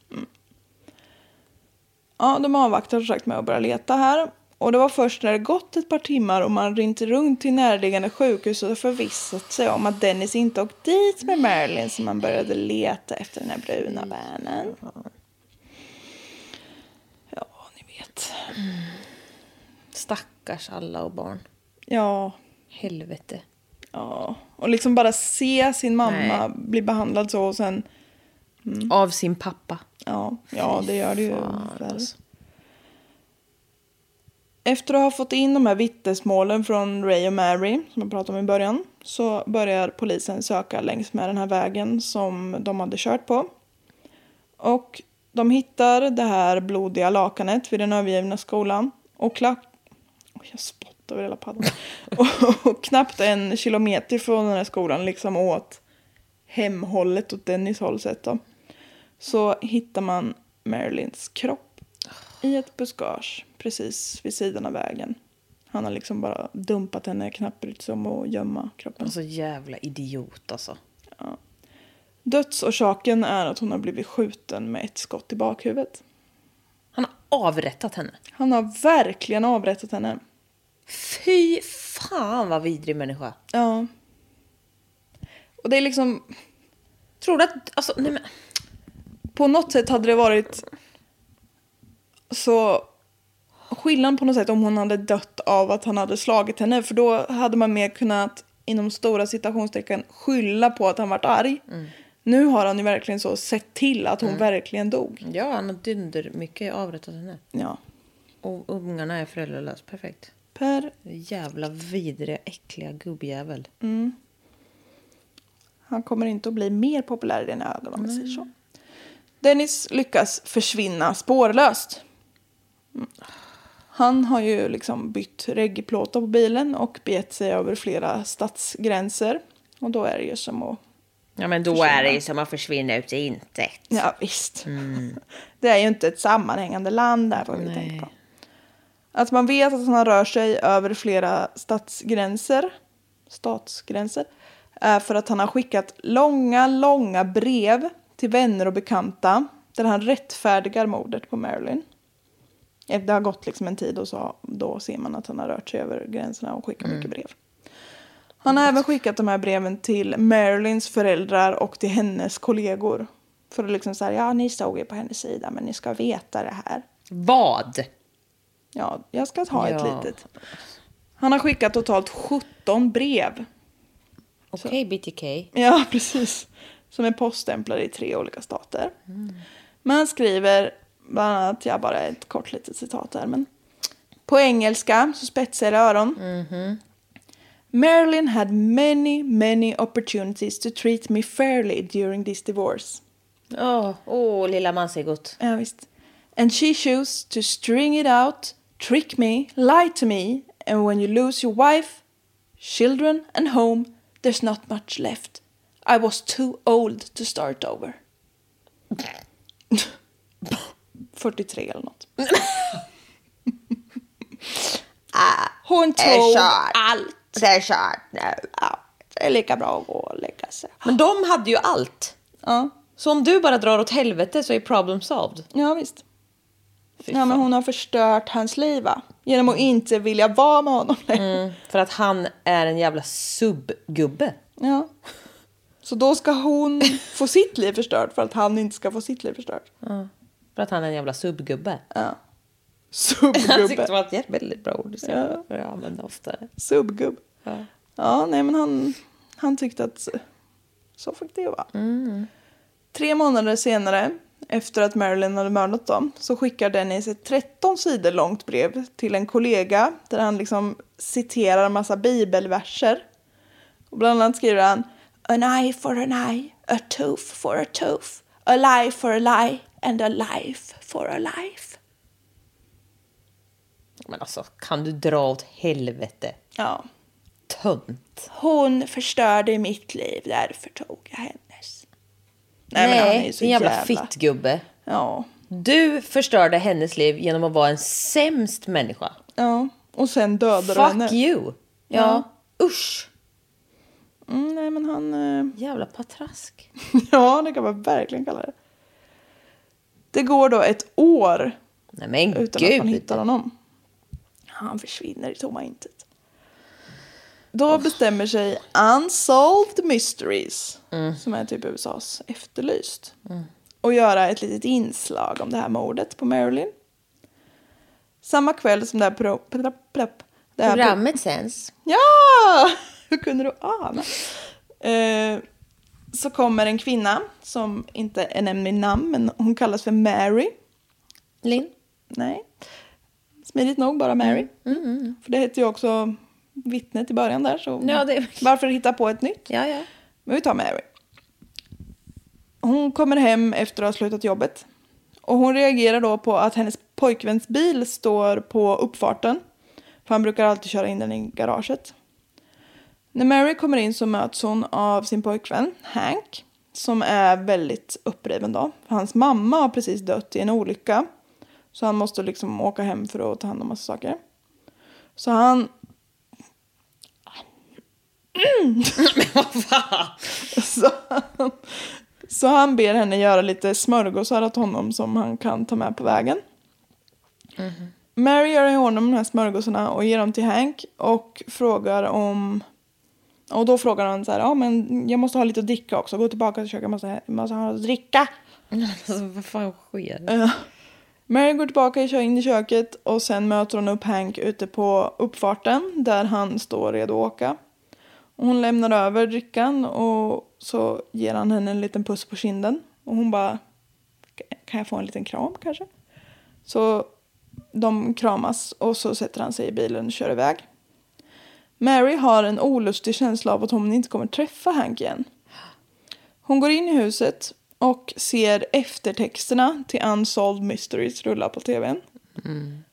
[SPEAKER 3] Ja, de avvaktar som sagt med att börja leta här. Och det var först när det gått ett par timmar och man ringt runt till närliggande sjukhus och förvissat sig om att Dennis inte åkt dit med Marilyn som man började leta efter den här bruna vännen. Ja, ni vet.
[SPEAKER 4] Stackars alla och barn.
[SPEAKER 3] Ja,
[SPEAKER 4] Helvete.
[SPEAKER 3] ja. Och liksom bara se sin mamma
[SPEAKER 4] Nej.
[SPEAKER 3] bli behandlad så och sen
[SPEAKER 4] Av sin pappa.
[SPEAKER 3] Ja, ja det gör det ju.
[SPEAKER 4] fan,
[SPEAKER 3] väl.
[SPEAKER 4] alltså.
[SPEAKER 3] Efter att ha fått in de här vittnesmålen från Ray och Mary, som jag pratade om i början, så börjar polisen söka längs med den här vägen som de hade kört på. Och de hittar det här blodiga lakanet vid den övergivna skolan och klack... Oj, jag spottar över hela paddan. och, och knappt en kilometer från den här skolan, liksom åt hemhållet, åt Dennis håll sett då så hittar man Marilyns kropp i ett buskage precis vid sidan av vägen. Han har liksom bara dumpat henne, knappt brytt sig om att gömma kroppen.
[SPEAKER 4] Alltså jävla idiot alltså.
[SPEAKER 3] Dödsorsaken är att hon har blivit skjuten med ett skott i bakhuvudet.
[SPEAKER 4] Han har avrättat henne.
[SPEAKER 3] Han har verkligen avrättat henne.
[SPEAKER 4] Fy fan vad vidrig människa.
[SPEAKER 3] Ja. Och det är liksom,
[SPEAKER 4] Tror du att... Alltså, nej men.
[SPEAKER 3] på något sätt hade det varit så skillnad på något sätt om hon hade dött av att han hade slagit henne för då hade man mer kunnat inom stora citationstecken skylla på att han varit arg. Nu har han ju verkligen så sett till att hon verkligen dog.
[SPEAKER 4] Ja, han har dunder mycket avrättat henne.
[SPEAKER 3] Ja.
[SPEAKER 4] Och ungarna är föräldralösa. Perfekt.
[SPEAKER 3] Per,
[SPEAKER 4] Jävla vidriga, äckliga gubbjävel.
[SPEAKER 3] han kommer inte att bli mer populär i dina ögon om vi säger så. Dennis lyckas försvinna spårlöst. Mm. Han har ju liksom bytt reggeplåtar på bilen och begett sig över flera stadsgränser. Och då är det ju som att
[SPEAKER 4] Ja, men då är det ju som att försvinna ut i intet.
[SPEAKER 3] Ja, visst. Det är ju inte ett sammanhängande land där får vi tänka på. Att man vet att han rör sig över flera statsgränser, statsgränser, är för att han har skickat långa, långa brev till vänner och bekanta där han rättfärdigar mordet på Marilyn. Eh, Det har gått liksom en tid och så, då ser man att han har rört sig över gränserna och skickat mycket brev. Han har även skickat de här breven till Marilyns föräldrar och till hennes kollegor. För att liksom säga, ja ni stod ju på hennes sida men ni ska veta det här.
[SPEAKER 4] Vad?
[SPEAKER 3] Ja, jag ska ta ett
[SPEAKER 4] Ja.
[SPEAKER 3] litet. Han har skickat totalt 17 brev.
[SPEAKER 4] Okej, BTK.
[SPEAKER 3] Ja, precis. Som är poststämplade i tre olika stater. Men han skriver bland annat, jag har bara ett kort litet citat här, men på engelska så spetsar det öron. Marilyn had many, many opportunities to treat me fairly during this divorce.
[SPEAKER 4] Åh, åh, lilla mansegot.
[SPEAKER 3] Ja, visst. And she chose to string it out, trick me, lie to me, and when you lose your wife, children and home, there's not much left. I was too old to start over. 43 eller något.
[SPEAKER 4] Ah,
[SPEAKER 3] Hon tror allt.
[SPEAKER 4] Det är kört nu.
[SPEAKER 3] Ja, det är lika bra att gå och lägga sig.
[SPEAKER 4] Men de hade ju allt.
[SPEAKER 3] Ja,
[SPEAKER 4] Så om du bara drar åt helvete så är problem solved.
[SPEAKER 3] ja visst. Ja, men hon har förstört hans liv va? Genom
[SPEAKER 4] Mm.
[SPEAKER 3] att inte vilja vara med honom längre.
[SPEAKER 4] För att han är en jävla subgubbe.
[SPEAKER 3] Ja. Så då ska hon få sitt liv förstört för att han inte ska få sitt liv förstört.
[SPEAKER 4] För att han är en jävla subgubbe. Jag tyckte det
[SPEAKER 3] Subgubbe.
[SPEAKER 4] var ett jävla- väldigt bra ord. Så jag börjar använda oftare.
[SPEAKER 3] Subgubb. Ja. nej men han, han tyckte att så fick det vara. Tre månader senare, efter att Marilyn hade mördat dem, så skickar Dennis ett 13 sidor långt brev till en kollega där han liksom citerar en massa bibelverser. Och bland annat skriver han An eye for an eye, a tooth for a tooth, a lie for a lie and a life for a life.
[SPEAKER 4] Men alltså, kan du dra åt helvete?
[SPEAKER 3] Ja.
[SPEAKER 4] Tönt.
[SPEAKER 3] Hon förstörde mitt liv, därför tog jag hennes. Nej,
[SPEAKER 4] din jävla fittgubbe.
[SPEAKER 3] Ja.
[SPEAKER 4] Du förstörde hennes liv genom att vara en sämst människa.
[SPEAKER 3] ja. Och sen dödade
[SPEAKER 4] Fuck
[SPEAKER 3] hon henne.
[SPEAKER 4] you! Ja. Usch!
[SPEAKER 3] Mm, nej, men han... eh,
[SPEAKER 4] Jävla patrask.
[SPEAKER 3] Ja, det kan man verkligen kalla det. Det går då ett år
[SPEAKER 4] Nej men
[SPEAKER 3] utan att man
[SPEAKER 4] Mm. gud!
[SPEAKER 3] hittar honom. Han försvinner i tomma intet. Då bestämmer sig Unsolved Mysteries,
[SPEAKER 4] Mm.
[SPEAKER 3] som är typ USAs Efterlyst, och göra ett litet inslag om det här mordet på Marilyn. Samma kväll som det här, pro- pra- pra- det här pro-
[SPEAKER 4] Programmet sänds.
[SPEAKER 3] Ja! Hur kunde du ana? Eh, så kommer en kvinna som inte är nämnd i namn, men hon kallas för Mary.
[SPEAKER 4] Linn?
[SPEAKER 3] Nej. Smidigt nog, bara Mary.
[SPEAKER 4] Mm,
[SPEAKER 3] För det hette ju också vittnet i början där, så
[SPEAKER 4] Ja, det-
[SPEAKER 3] varför hitta på ett nytt?
[SPEAKER 4] Ja, ja.
[SPEAKER 3] Men vi tar Mary. Hon kommer hem efter att ha slutat jobbet. Och hon reagerar då på att hennes pojkväns bil står på uppfarten. För han brukar alltid köra in den i garaget. När Mary kommer in så möts hon av sin pojkvän Hank. Som är väldigt uppriven då. För hans mamma har precis dött i en olycka. Så han måste liksom åka hem för att ta hand om massa saker. Så han Så han, så han ber henne göra lite smörgåsar åt honom som han kan ta med på vägen. Mary gör i ordning de här smörgåsarna och ger dem till Hank och frågar om... Och då frågar han så här, ja men jag måste ha lite att dricka också, gå tillbaka till köket, jag måste, jag måste ha något att dricka.
[SPEAKER 4] Alltså vad fan sker?
[SPEAKER 3] Mary går tillbaka i kö- in i köket och sen möter hon upp Hank ute på uppfarten där han står redo att åka. Och hon lämnar över drickan och så ger han henne en liten puss på kinden. Och hon bara, kan jag få en liten kram kanske? Så de kramas och så sätter han sig i bilen och kör iväg. Mary har en olustig känsla av att hon inte kommer träffa Hank igen. Hon går in i huset och ser eftertexterna till Unsolved Mysteries rulla på tvn.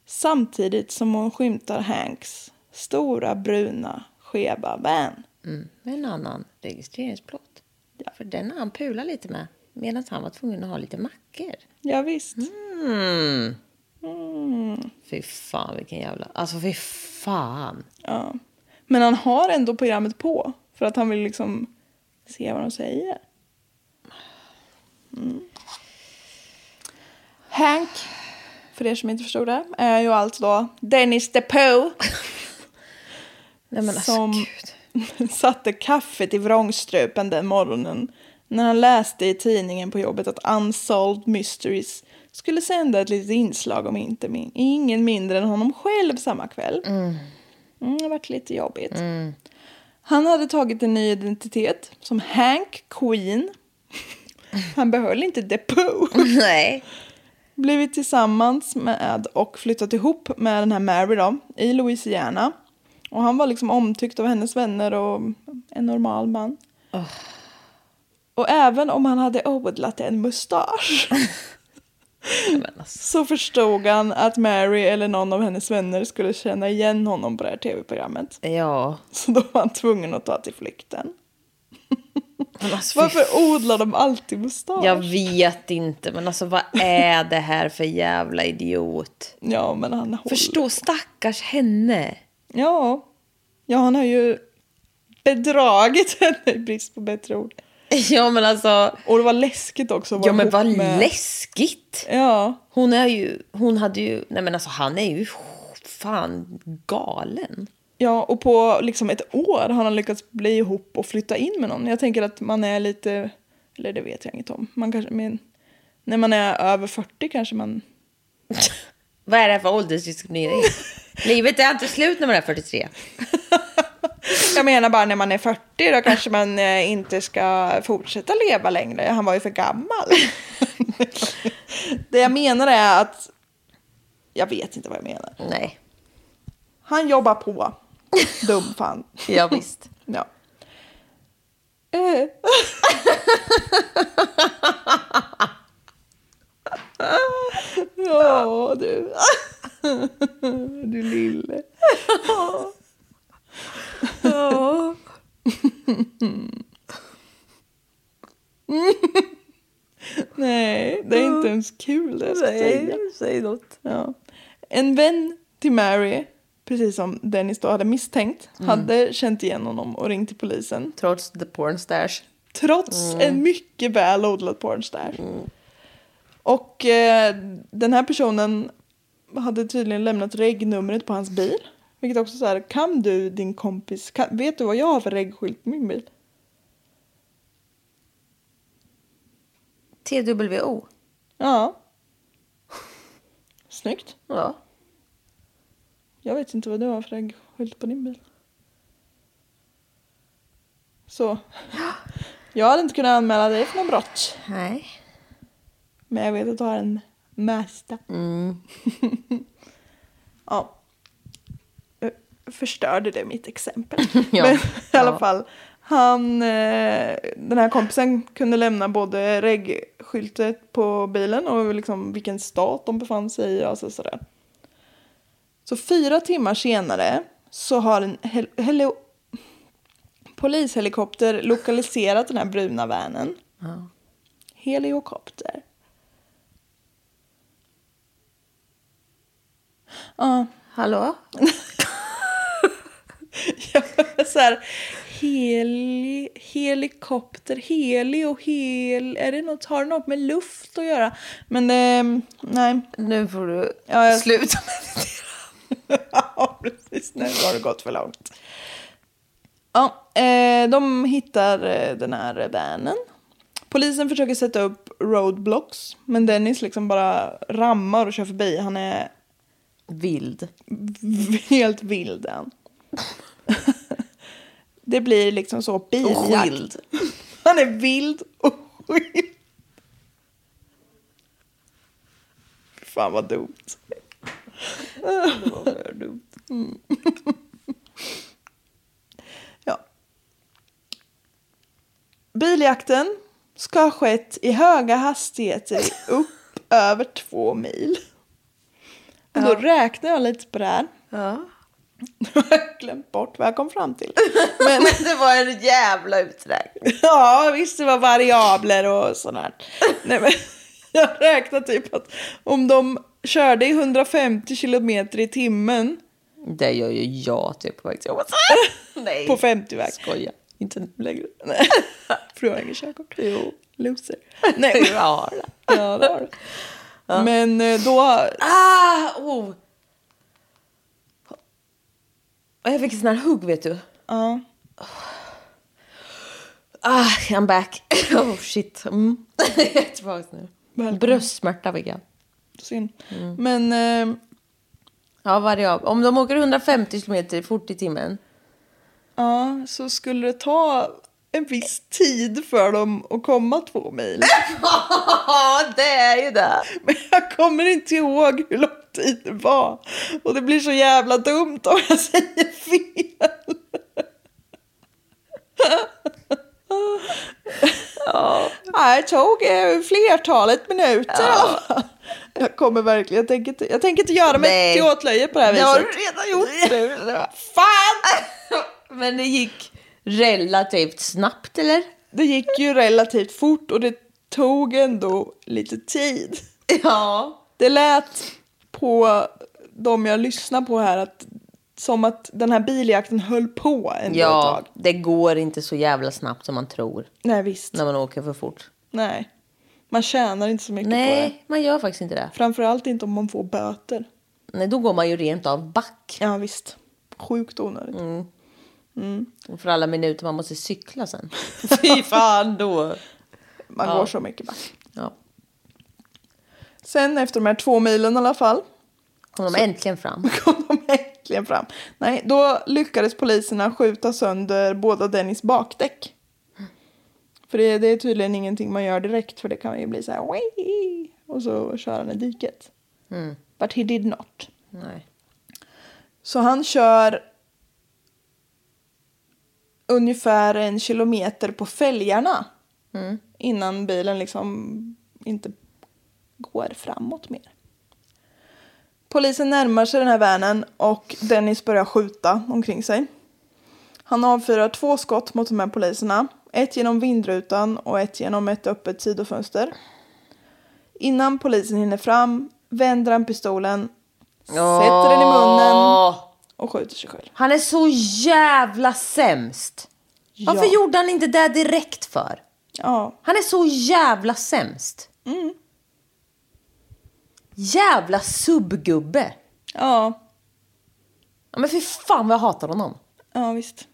[SPEAKER 3] Samtidigt som hon skymtar Hanks stora bruna skeva van.
[SPEAKER 4] Mm. Med en annan registreringsplåt. För den har han pulat lite med. Medan han var tvungen att ha lite mackor.
[SPEAKER 3] Ja, visst.
[SPEAKER 4] Mm. Fy fan vilken jävla... Alltså fy fan.
[SPEAKER 3] Ja. Men han har ändå programmet på för att han vill liksom se vad de säger. Mm. Hank, för er som inte förstod det, är ju alltså då Dennis DePoe
[SPEAKER 4] Nej men alltså
[SPEAKER 3] Som-
[SPEAKER 4] gud.
[SPEAKER 3] satte kaffet i vrångstrupen den morgonen när han läste i tidningen på jobbet att Unsolved Mysteries skulle sända ett litet inslag om inte min, ingen mindre än honom själv samma kväll. Mm. det har varit lite jobbigt.
[SPEAKER 4] Mm.
[SPEAKER 3] Han hade tagit en ny identitet som Hank Queen. Han behöll inte Depoe
[SPEAKER 4] Nej.
[SPEAKER 3] blivit tillsammans med och flyttat ihop med den här Mary då, i Louisiana. Och han var liksom omtyckt av hennes vänner och en normal man. Och även om han hade odlat en mustasch
[SPEAKER 4] alltså.
[SPEAKER 3] så förstod han att Mary eller någon av hennes vänner skulle känna igen honom på det här tv-programmet.
[SPEAKER 4] Ja.
[SPEAKER 3] Så då var han tvungen att ta till flykten.
[SPEAKER 4] Men alltså, fy
[SPEAKER 3] Varför odlar de alltid mustasch?
[SPEAKER 4] Jag vet inte, men alltså vad är det här för jävla idiot?
[SPEAKER 3] Ja, men han håller.
[SPEAKER 4] Förstå stackars henne.
[SPEAKER 3] Ja. ja, han har ju bedragit henne i brist på bättre ord.
[SPEAKER 4] Ja men alltså,
[SPEAKER 3] Och det var läskigt också. att vara
[SPEAKER 4] ja men
[SPEAKER 3] ihop
[SPEAKER 4] vad
[SPEAKER 3] med-
[SPEAKER 4] läskigt.
[SPEAKER 3] Ja,
[SPEAKER 4] Hon är ju, hon hade ju, nej men alltså han är ju fan galen.
[SPEAKER 3] ja, och på liksom ett år har han lyckats bli ihop och flytta in med någon. Jag tänker att man är lite, eller det vet jag inget om, man kanske, men när man är över 40 kanske man,
[SPEAKER 4] Vad är det här för åldersdiskriminering? Livet är inte slut när man är 43.
[SPEAKER 3] jag menar bara när man är 40 då kanske man eh, inte ska fortsätta leva längre. Han var ju för gammal. det jag menar är att, jag vet inte vad jag menar.
[SPEAKER 4] Nej,
[SPEAKER 3] Han jobbar på. Dum fan.
[SPEAKER 4] ja visst.
[SPEAKER 3] Ja. Eh. ja, du. du lille. Nej, det är inte ens kul det jag ska säga.
[SPEAKER 4] säg något.
[SPEAKER 3] Ja. En vän till Mary, precis som Dennis då hade misstänkt, hade känt igen honom och ringt till polisen.
[SPEAKER 4] Trots the porn stash.
[SPEAKER 3] Trots en mycket väl odlad pornstash. Och eh, den här personen hade tydligen lämnat regnumret på hans bil. Vilket också så här, kan du din kompis, kan, vet du vad jag har för reggskylt på min bil?
[SPEAKER 4] TWO.
[SPEAKER 3] Ja. Snyggt.
[SPEAKER 4] Ja.
[SPEAKER 3] Jag vet inte vad du har för reggskylt på din bil. Så. Jag hade inte kunnat anmäla dig för något brott.
[SPEAKER 4] Nej.
[SPEAKER 3] Men jag vet att du har en Mazda.
[SPEAKER 4] Mm.
[SPEAKER 3] ja. Eh, Förstörde det mitt exempel.
[SPEAKER 4] Ja.
[SPEAKER 3] Men i alla
[SPEAKER 4] Ja.
[SPEAKER 3] fall. Han, eh, den här kompisen kunde lämna både regskyltet på bilen och liksom vilken stat de befann sig i. Alltså sådär. Så fyra timmar senare så har en hel- helo- polishelikopter lokaliserat den här bruna vanen. Heliokopter. Ja,
[SPEAKER 4] Hallå?
[SPEAKER 3] jag var så här, heli, helikopter, heli och hel, är det något, har det något med luft att göra? Men eh, nej,
[SPEAKER 4] Nu får du
[SPEAKER 3] Ja, jag-
[SPEAKER 4] sluta
[SPEAKER 3] ja, precis. Nu har det gått för långt. Ja, eh, de hittar eh, den här vanen. Polisen försöker sätta upp roadblocks, men Dennis liksom bara rammar och kör förbi. Han är
[SPEAKER 4] Vild.
[SPEAKER 3] helt vild än. Det blir liksom så biljakt.
[SPEAKER 4] skild.
[SPEAKER 3] Han är vild och skild. Fan vad dumt.
[SPEAKER 4] Vad är du?
[SPEAKER 3] Mm. Ja. Biljakten ska ha skett i höga hastigheter i upp över två mil. Och då räknar jag lite på det här.
[SPEAKER 4] Ja.
[SPEAKER 3] Nu har jag glömt bort vad jag kom fram till.
[SPEAKER 4] Men det var en jävla uträkning.
[SPEAKER 3] Ja, visst det var variabler och sådär. Nej, men jag räknade typ att om de körde i 150 kilometer i timmen
[SPEAKER 4] Det gör ju jag typ på väg till jobbet. Nej.
[SPEAKER 3] på 50-väg.
[SPEAKER 4] Skoja.
[SPEAKER 3] Inte längre. Nej. För du har inget körkort. Jo. Loser. Nej.
[SPEAKER 4] Du har det.
[SPEAKER 3] Ja, det har du. Men eh, då...
[SPEAKER 4] Ah, oh. Och Jag fick en sån här hugg vet du.
[SPEAKER 3] Ja.
[SPEAKER 4] Ah, I'm back. Oh shit. Mm. jag är tillbaka nu.
[SPEAKER 3] Välkommen.
[SPEAKER 4] Bröstsmärta fick jag.
[SPEAKER 3] Synd.
[SPEAKER 4] Mm.
[SPEAKER 3] Men eh,
[SPEAKER 4] Ja, variabel. Om de åker 150 km fort i timmen.
[SPEAKER 3] ja, så skulle det ta en viss tid för dem att komma två mil.
[SPEAKER 4] Ja, det är ju det.
[SPEAKER 3] Men jag kommer inte ihåg hur lång tid det var. Och det blir så jävla dumt om jag säger fel. Ja. Jag tog eh, flertalet minuter i alla fall. Jag kommer verkligen, jag tänker inte, jag tänker inte göra mig
[SPEAKER 4] Nej.
[SPEAKER 3] till åtlöje på det här
[SPEAKER 4] Det
[SPEAKER 3] viset.
[SPEAKER 4] har du redan gjort nu.
[SPEAKER 3] Fan!
[SPEAKER 4] Men det gick relativt snabbt, eller?
[SPEAKER 3] Det gick ju relativt fort och det tog ändå lite tid.
[SPEAKER 4] Ja.
[SPEAKER 3] Det lät på de jag lyssnar på här att, som att den här biljakten höll på ändå ett
[SPEAKER 4] Ja,
[SPEAKER 3] tag.
[SPEAKER 4] det går inte så jävla snabbt som man tror
[SPEAKER 3] Nej visst.
[SPEAKER 4] när man åker för fort.
[SPEAKER 3] Nej. Man tjänar inte så mycket Typ på det.
[SPEAKER 4] Nej, man gör faktiskt inte det.
[SPEAKER 3] Framförallt inte om man får böter.
[SPEAKER 4] Nej, då går man ju rent av back
[SPEAKER 3] Ja visst. Sjukt onödigt.
[SPEAKER 4] Mm. för alla minuter man måste cykla sen. Fy fan då.
[SPEAKER 3] Man går så mycket back.
[SPEAKER 4] Ja.
[SPEAKER 3] Sen efter de här två milen i alla fall
[SPEAKER 4] Kom de äntligen fram.
[SPEAKER 3] kom de äntligen fram. Nej, då lyckades poliserna skjuta sönder båda Dennis bakdäck. För det, det är tydligen ingenting man gör direkt för det kan ju bli så här "Wii!" och så kör han i diket. But he did not.
[SPEAKER 4] Nej.
[SPEAKER 3] Så han kör ungefär en kilometer på fälgarna innan bilen liksom inte går framåt mer. Polisen närmar sig den här vanen och Dennis börjar skjuta omkring sig. Han avfyrar två skott mot de här poliserna. Ett genom vindrutan och ett genom ett öppet sidofönster. Innan polisen hinner fram vänder han pistolen, sätter den i munnen
[SPEAKER 4] Åh,
[SPEAKER 3] och skjuter sig själv.
[SPEAKER 4] han är så jävla sämst. Varför
[SPEAKER 3] Ja.
[SPEAKER 4] gjorde han inte det direkt för?
[SPEAKER 3] Ja,
[SPEAKER 4] Han är så jävla sämst.
[SPEAKER 3] Mm.
[SPEAKER 4] Jävla subgubbe.
[SPEAKER 3] ja,
[SPEAKER 4] Ja, men fy fan vad jag hatar honom.
[SPEAKER 3] ja visst.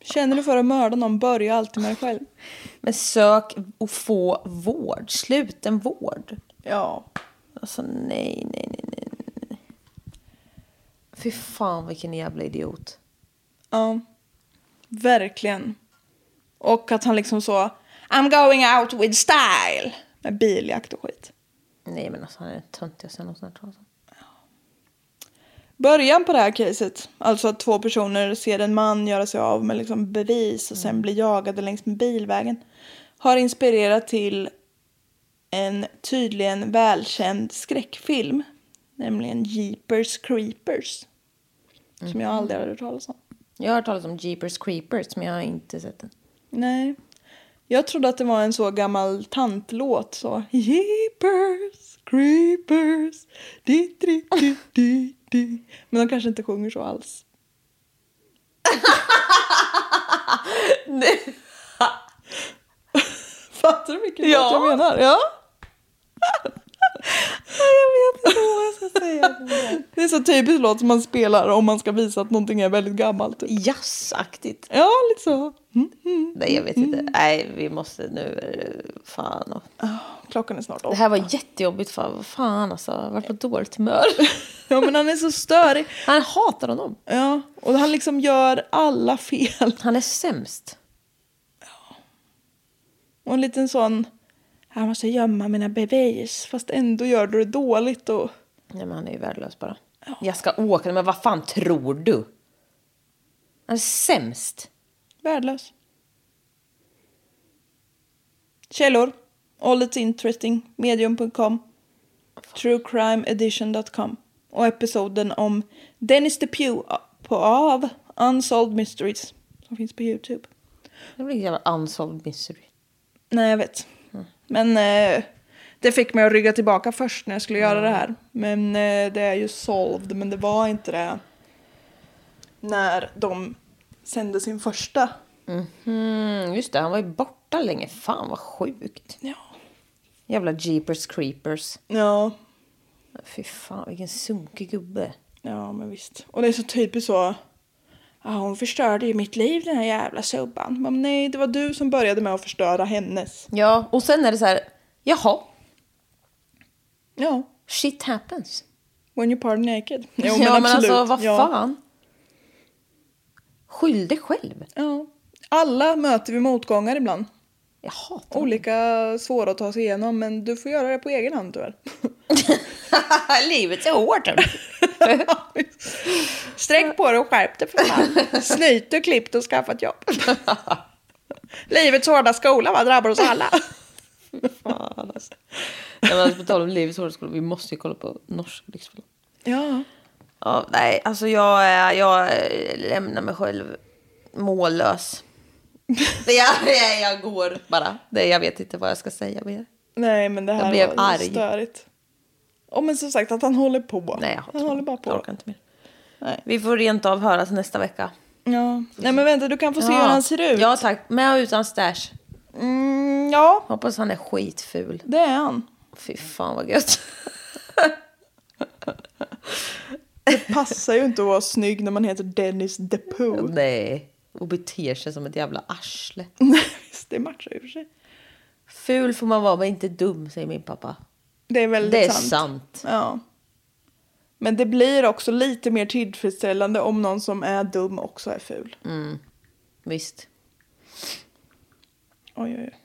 [SPEAKER 3] Känner du för att mörda någon, börja alltid med dig själv.
[SPEAKER 4] Men sök och få vård. Sluten vård.
[SPEAKER 3] Ja.
[SPEAKER 4] Alltså nej, nej, nej, nej, nej. Fy fan vilken jävla idiot.
[SPEAKER 3] Ja. Verkligen. Och att han liksom så, I'm going out with style. Med biljakt och skit.
[SPEAKER 4] Nej men alltså han är den töntigaste jag någonsin hört talas om.
[SPEAKER 3] Början på det här caset, alltså att två personer ser en man göra sig av med liksom bevis och sen blir jagade längs med bilvägen, har inspirerat till en tydligen välkänd skräckfilm, nämligen Jeepers Creepers, som jag aldrig har hört talas om.
[SPEAKER 4] Jag har hört talas om Jeepers Creepers men jag har inte sett den.
[SPEAKER 3] Nej. Jag trodde att det var en så gammal tantlåt så. Jeepers, creepers, di, di, di, di, di. Men de kanske inte sjunger så alls. Fattar du vilken låt jag menar? Ja.
[SPEAKER 4] Jag vet inte vad jag ska säga. om det.
[SPEAKER 3] Det är så typiskt låt som man spelar om man ska visa att någonting är väldigt gammalt. Typ.
[SPEAKER 4] Jazzaktigt.
[SPEAKER 3] Ja, lite så. Mm,
[SPEAKER 4] Nej, jag vet inte. Nej, vi måste nu. eh, Fan.
[SPEAKER 3] Ah, Klockan är snart
[SPEAKER 4] Det
[SPEAKER 3] åtta.
[SPEAKER 4] här var jättejobbigt. Fan, vad fan alltså. Jag har varit på dåligt humör.
[SPEAKER 3] Ja, men han är så störig.
[SPEAKER 4] Han hatar honom.
[SPEAKER 3] Ja, och han liksom gör alla fel.
[SPEAKER 4] Han är sämst.
[SPEAKER 3] Och en liten sån, "Ah, jag måste gömma mina bevis, fast ändå gör du det dåligt. Och...
[SPEAKER 4] Nej, men han är ju värdelös bara. Jag ska åka. Men vad fan tror du? Han är sämst.
[SPEAKER 3] Värdelös. Källor. All it's interesting. Medium.com. Truecrimeedition.com. Och episoden om Dennis DePew på av Unsolved Mysteries. Som finns på Youtube.
[SPEAKER 4] Det blir en jävla unsolved mystery.
[SPEAKER 3] Nej, jag vet. Men eh, det fick mig att rygga tillbaka först när jag skulle göra det här. Men eh, det är ju solved, men det var inte det när de sände sin första.
[SPEAKER 4] Mm, just det, han var ju borta länge. Fan vad sjukt.
[SPEAKER 3] Ja.
[SPEAKER 4] Jävla jeepers creepers.
[SPEAKER 3] Ja,
[SPEAKER 4] Fy fan vilken sunkig gubbe.
[SPEAKER 3] ja men visst. Och det är så typiskt så. Ah, hon förstörde ju mitt liv den här jävla subban. Men nej, det var du som började med att förstöra hennes.
[SPEAKER 4] Ja, och sen är det så här. Jaha,
[SPEAKER 3] Ja,
[SPEAKER 4] shit happens.
[SPEAKER 3] when you party naked. Jo,
[SPEAKER 4] ja, men alltså
[SPEAKER 3] absolut.
[SPEAKER 4] vad
[SPEAKER 3] Ja.
[SPEAKER 4] fan. Skyll dig själv.
[SPEAKER 3] Ja. Alla möter vi motgångar ibland.
[SPEAKER 4] Jag hatar
[SPEAKER 3] Olika svåra att ta sig igenom men du får göra det på egen hand tyvärr.
[SPEAKER 4] Livet är hårt.
[SPEAKER 3] Sträck på dig och skärp dig för fan. Snyt och klippt och skaffa ett jobb. Livets hårda skola va, drabbar oss alla.
[SPEAKER 4] fan alltså. Nej, men alltså, på tal om livets hårda skola, vi måste ju kolla på norsk lyxfällan.
[SPEAKER 3] Ja.
[SPEAKER 4] Ja, nej, alltså jag, är- jag eh, lämnar mig själv mållös. Det jag, jag, jag går bara. Det, jag vet inte vad jag ska säga mer.
[SPEAKER 3] Nej men det
[SPEAKER 4] Jag
[SPEAKER 3] här
[SPEAKER 4] blev
[SPEAKER 3] var
[SPEAKER 4] arg.
[SPEAKER 3] störigt. Och men som sagt att han håller på.
[SPEAKER 4] Nej, jag hatar
[SPEAKER 3] han håller bara
[SPEAKER 4] honom.
[SPEAKER 3] på.
[SPEAKER 4] Jag orkar inte mer.
[SPEAKER 3] Nej.
[SPEAKER 4] Vi får rent av höras nästa vecka.
[SPEAKER 3] Ja. Nej men vänta du kan få se hur han ser ut.
[SPEAKER 4] Ja tack, med och utan stash.
[SPEAKER 3] Mm, ja
[SPEAKER 4] Hoppas han är skitful.
[SPEAKER 3] det är han.
[SPEAKER 4] Fy fan vad gött.
[SPEAKER 3] Passar ju inte att vara snygg när man heter Dennis DePoo.
[SPEAKER 4] Nej, och beter sig som ett jävla arsle.
[SPEAKER 3] Nej visst, det matchar ju för sig.
[SPEAKER 4] Ful får man vara men inte dum säger min pappa.
[SPEAKER 3] Det är väldigt
[SPEAKER 4] Det är
[SPEAKER 3] sant.
[SPEAKER 4] sant.
[SPEAKER 3] Ja. Men det blir också lite mer tillfredsställande om någon som är dum också är ful.
[SPEAKER 4] Mm. Visst.
[SPEAKER 3] Oj, oj, oj.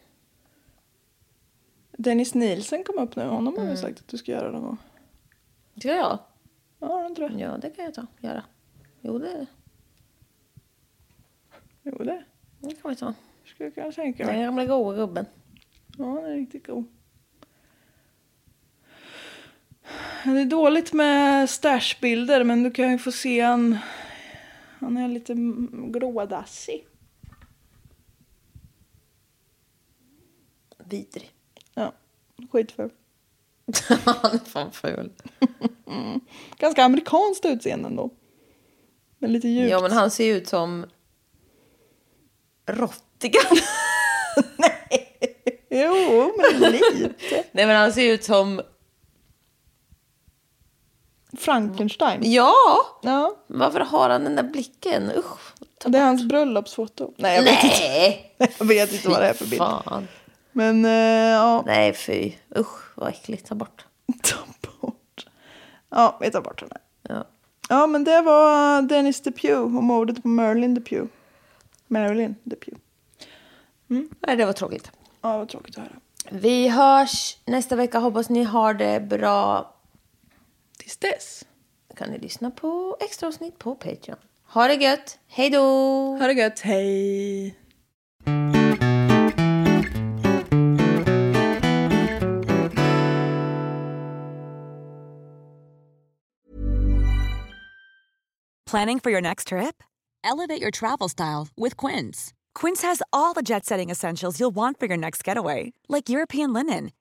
[SPEAKER 3] Dennis Nielsen kom upp nu. Honom har du
[SPEAKER 4] Mm.
[SPEAKER 3] sagt att du ska göra någon gång.
[SPEAKER 4] Ska jag?
[SPEAKER 3] Ja, han tror jag.
[SPEAKER 4] Ja det kan jag ta, göra. Jo det,
[SPEAKER 3] Jo, det
[SPEAKER 4] det kan vi ta.
[SPEAKER 3] skulle jag kunna tänka
[SPEAKER 4] Den
[SPEAKER 3] mig.
[SPEAKER 4] gamla goa gubben.
[SPEAKER 3] Ja, han är riktigt god. Det är dåligt med stashbilder, men du kan ju få se han. Han är lite mm, grådassig.
[SPEAKER 4] Vidrig.
[SPEAKER 3] Ja, skitful.
[SPEAKER 4] Han är fan ful.
[SPEAKER 3] Ganska amerikanskt utseende ändå. Men lite djupt.
[SPEAKER 4] Ja men han ser ju ut som Rottigan.
[SPEAKER 3] Jo, men lite.
[SPEAKER 4] Nej men han ser ju ut som,
[SPEAKER 3] Frankenstein.
[SPEAKER 4] ja!
[SPEAKER 3] Ja.
[SPEAKER 4] Varför har han den där blicken? Usch.
[SPEAKER 3] Det är hans bröllopsfoto. Nej, jag vet, inte.
[SPEAKER 4] Nej!
[SPEAKER 3] jag vet inte vad det är för bild.
[SPEAKER 4] Fan.
[SPEAKER 3] Men eh, ja,
[SPEAKER 4] Nej fy. Usch vad äckligt. Ta bort.
[SPEAKER 3] ta bort. Ja, vi tar bort den här.
[SPEAKER 4] Ja.
[SPEAKER 3] Ja, men det var Dennis DePew och mordet på Marilyn DePew. Marilyn DePew.
[SPEAKER 4] Nej det var tråkigt.
[SPEAKER 3] Ja, vad tråkigt att höra.
[SPEAKER 4] Vi hörs nästa vecka. Hoppas ni har det bra.
[SPEAKER 3] Tills dess.
[SPEAKER 4] Kan ni lyssna på extra avsnitt på Patreon. Ha det gött. Hej då!
[SPEAKER 3] Ha det gött, hej.
[SPEAKER 8] Planning for your next trip? Elevate your travel style with Quince. Quince has all the jet setting essentials you'll want for your next getaway, like European linen,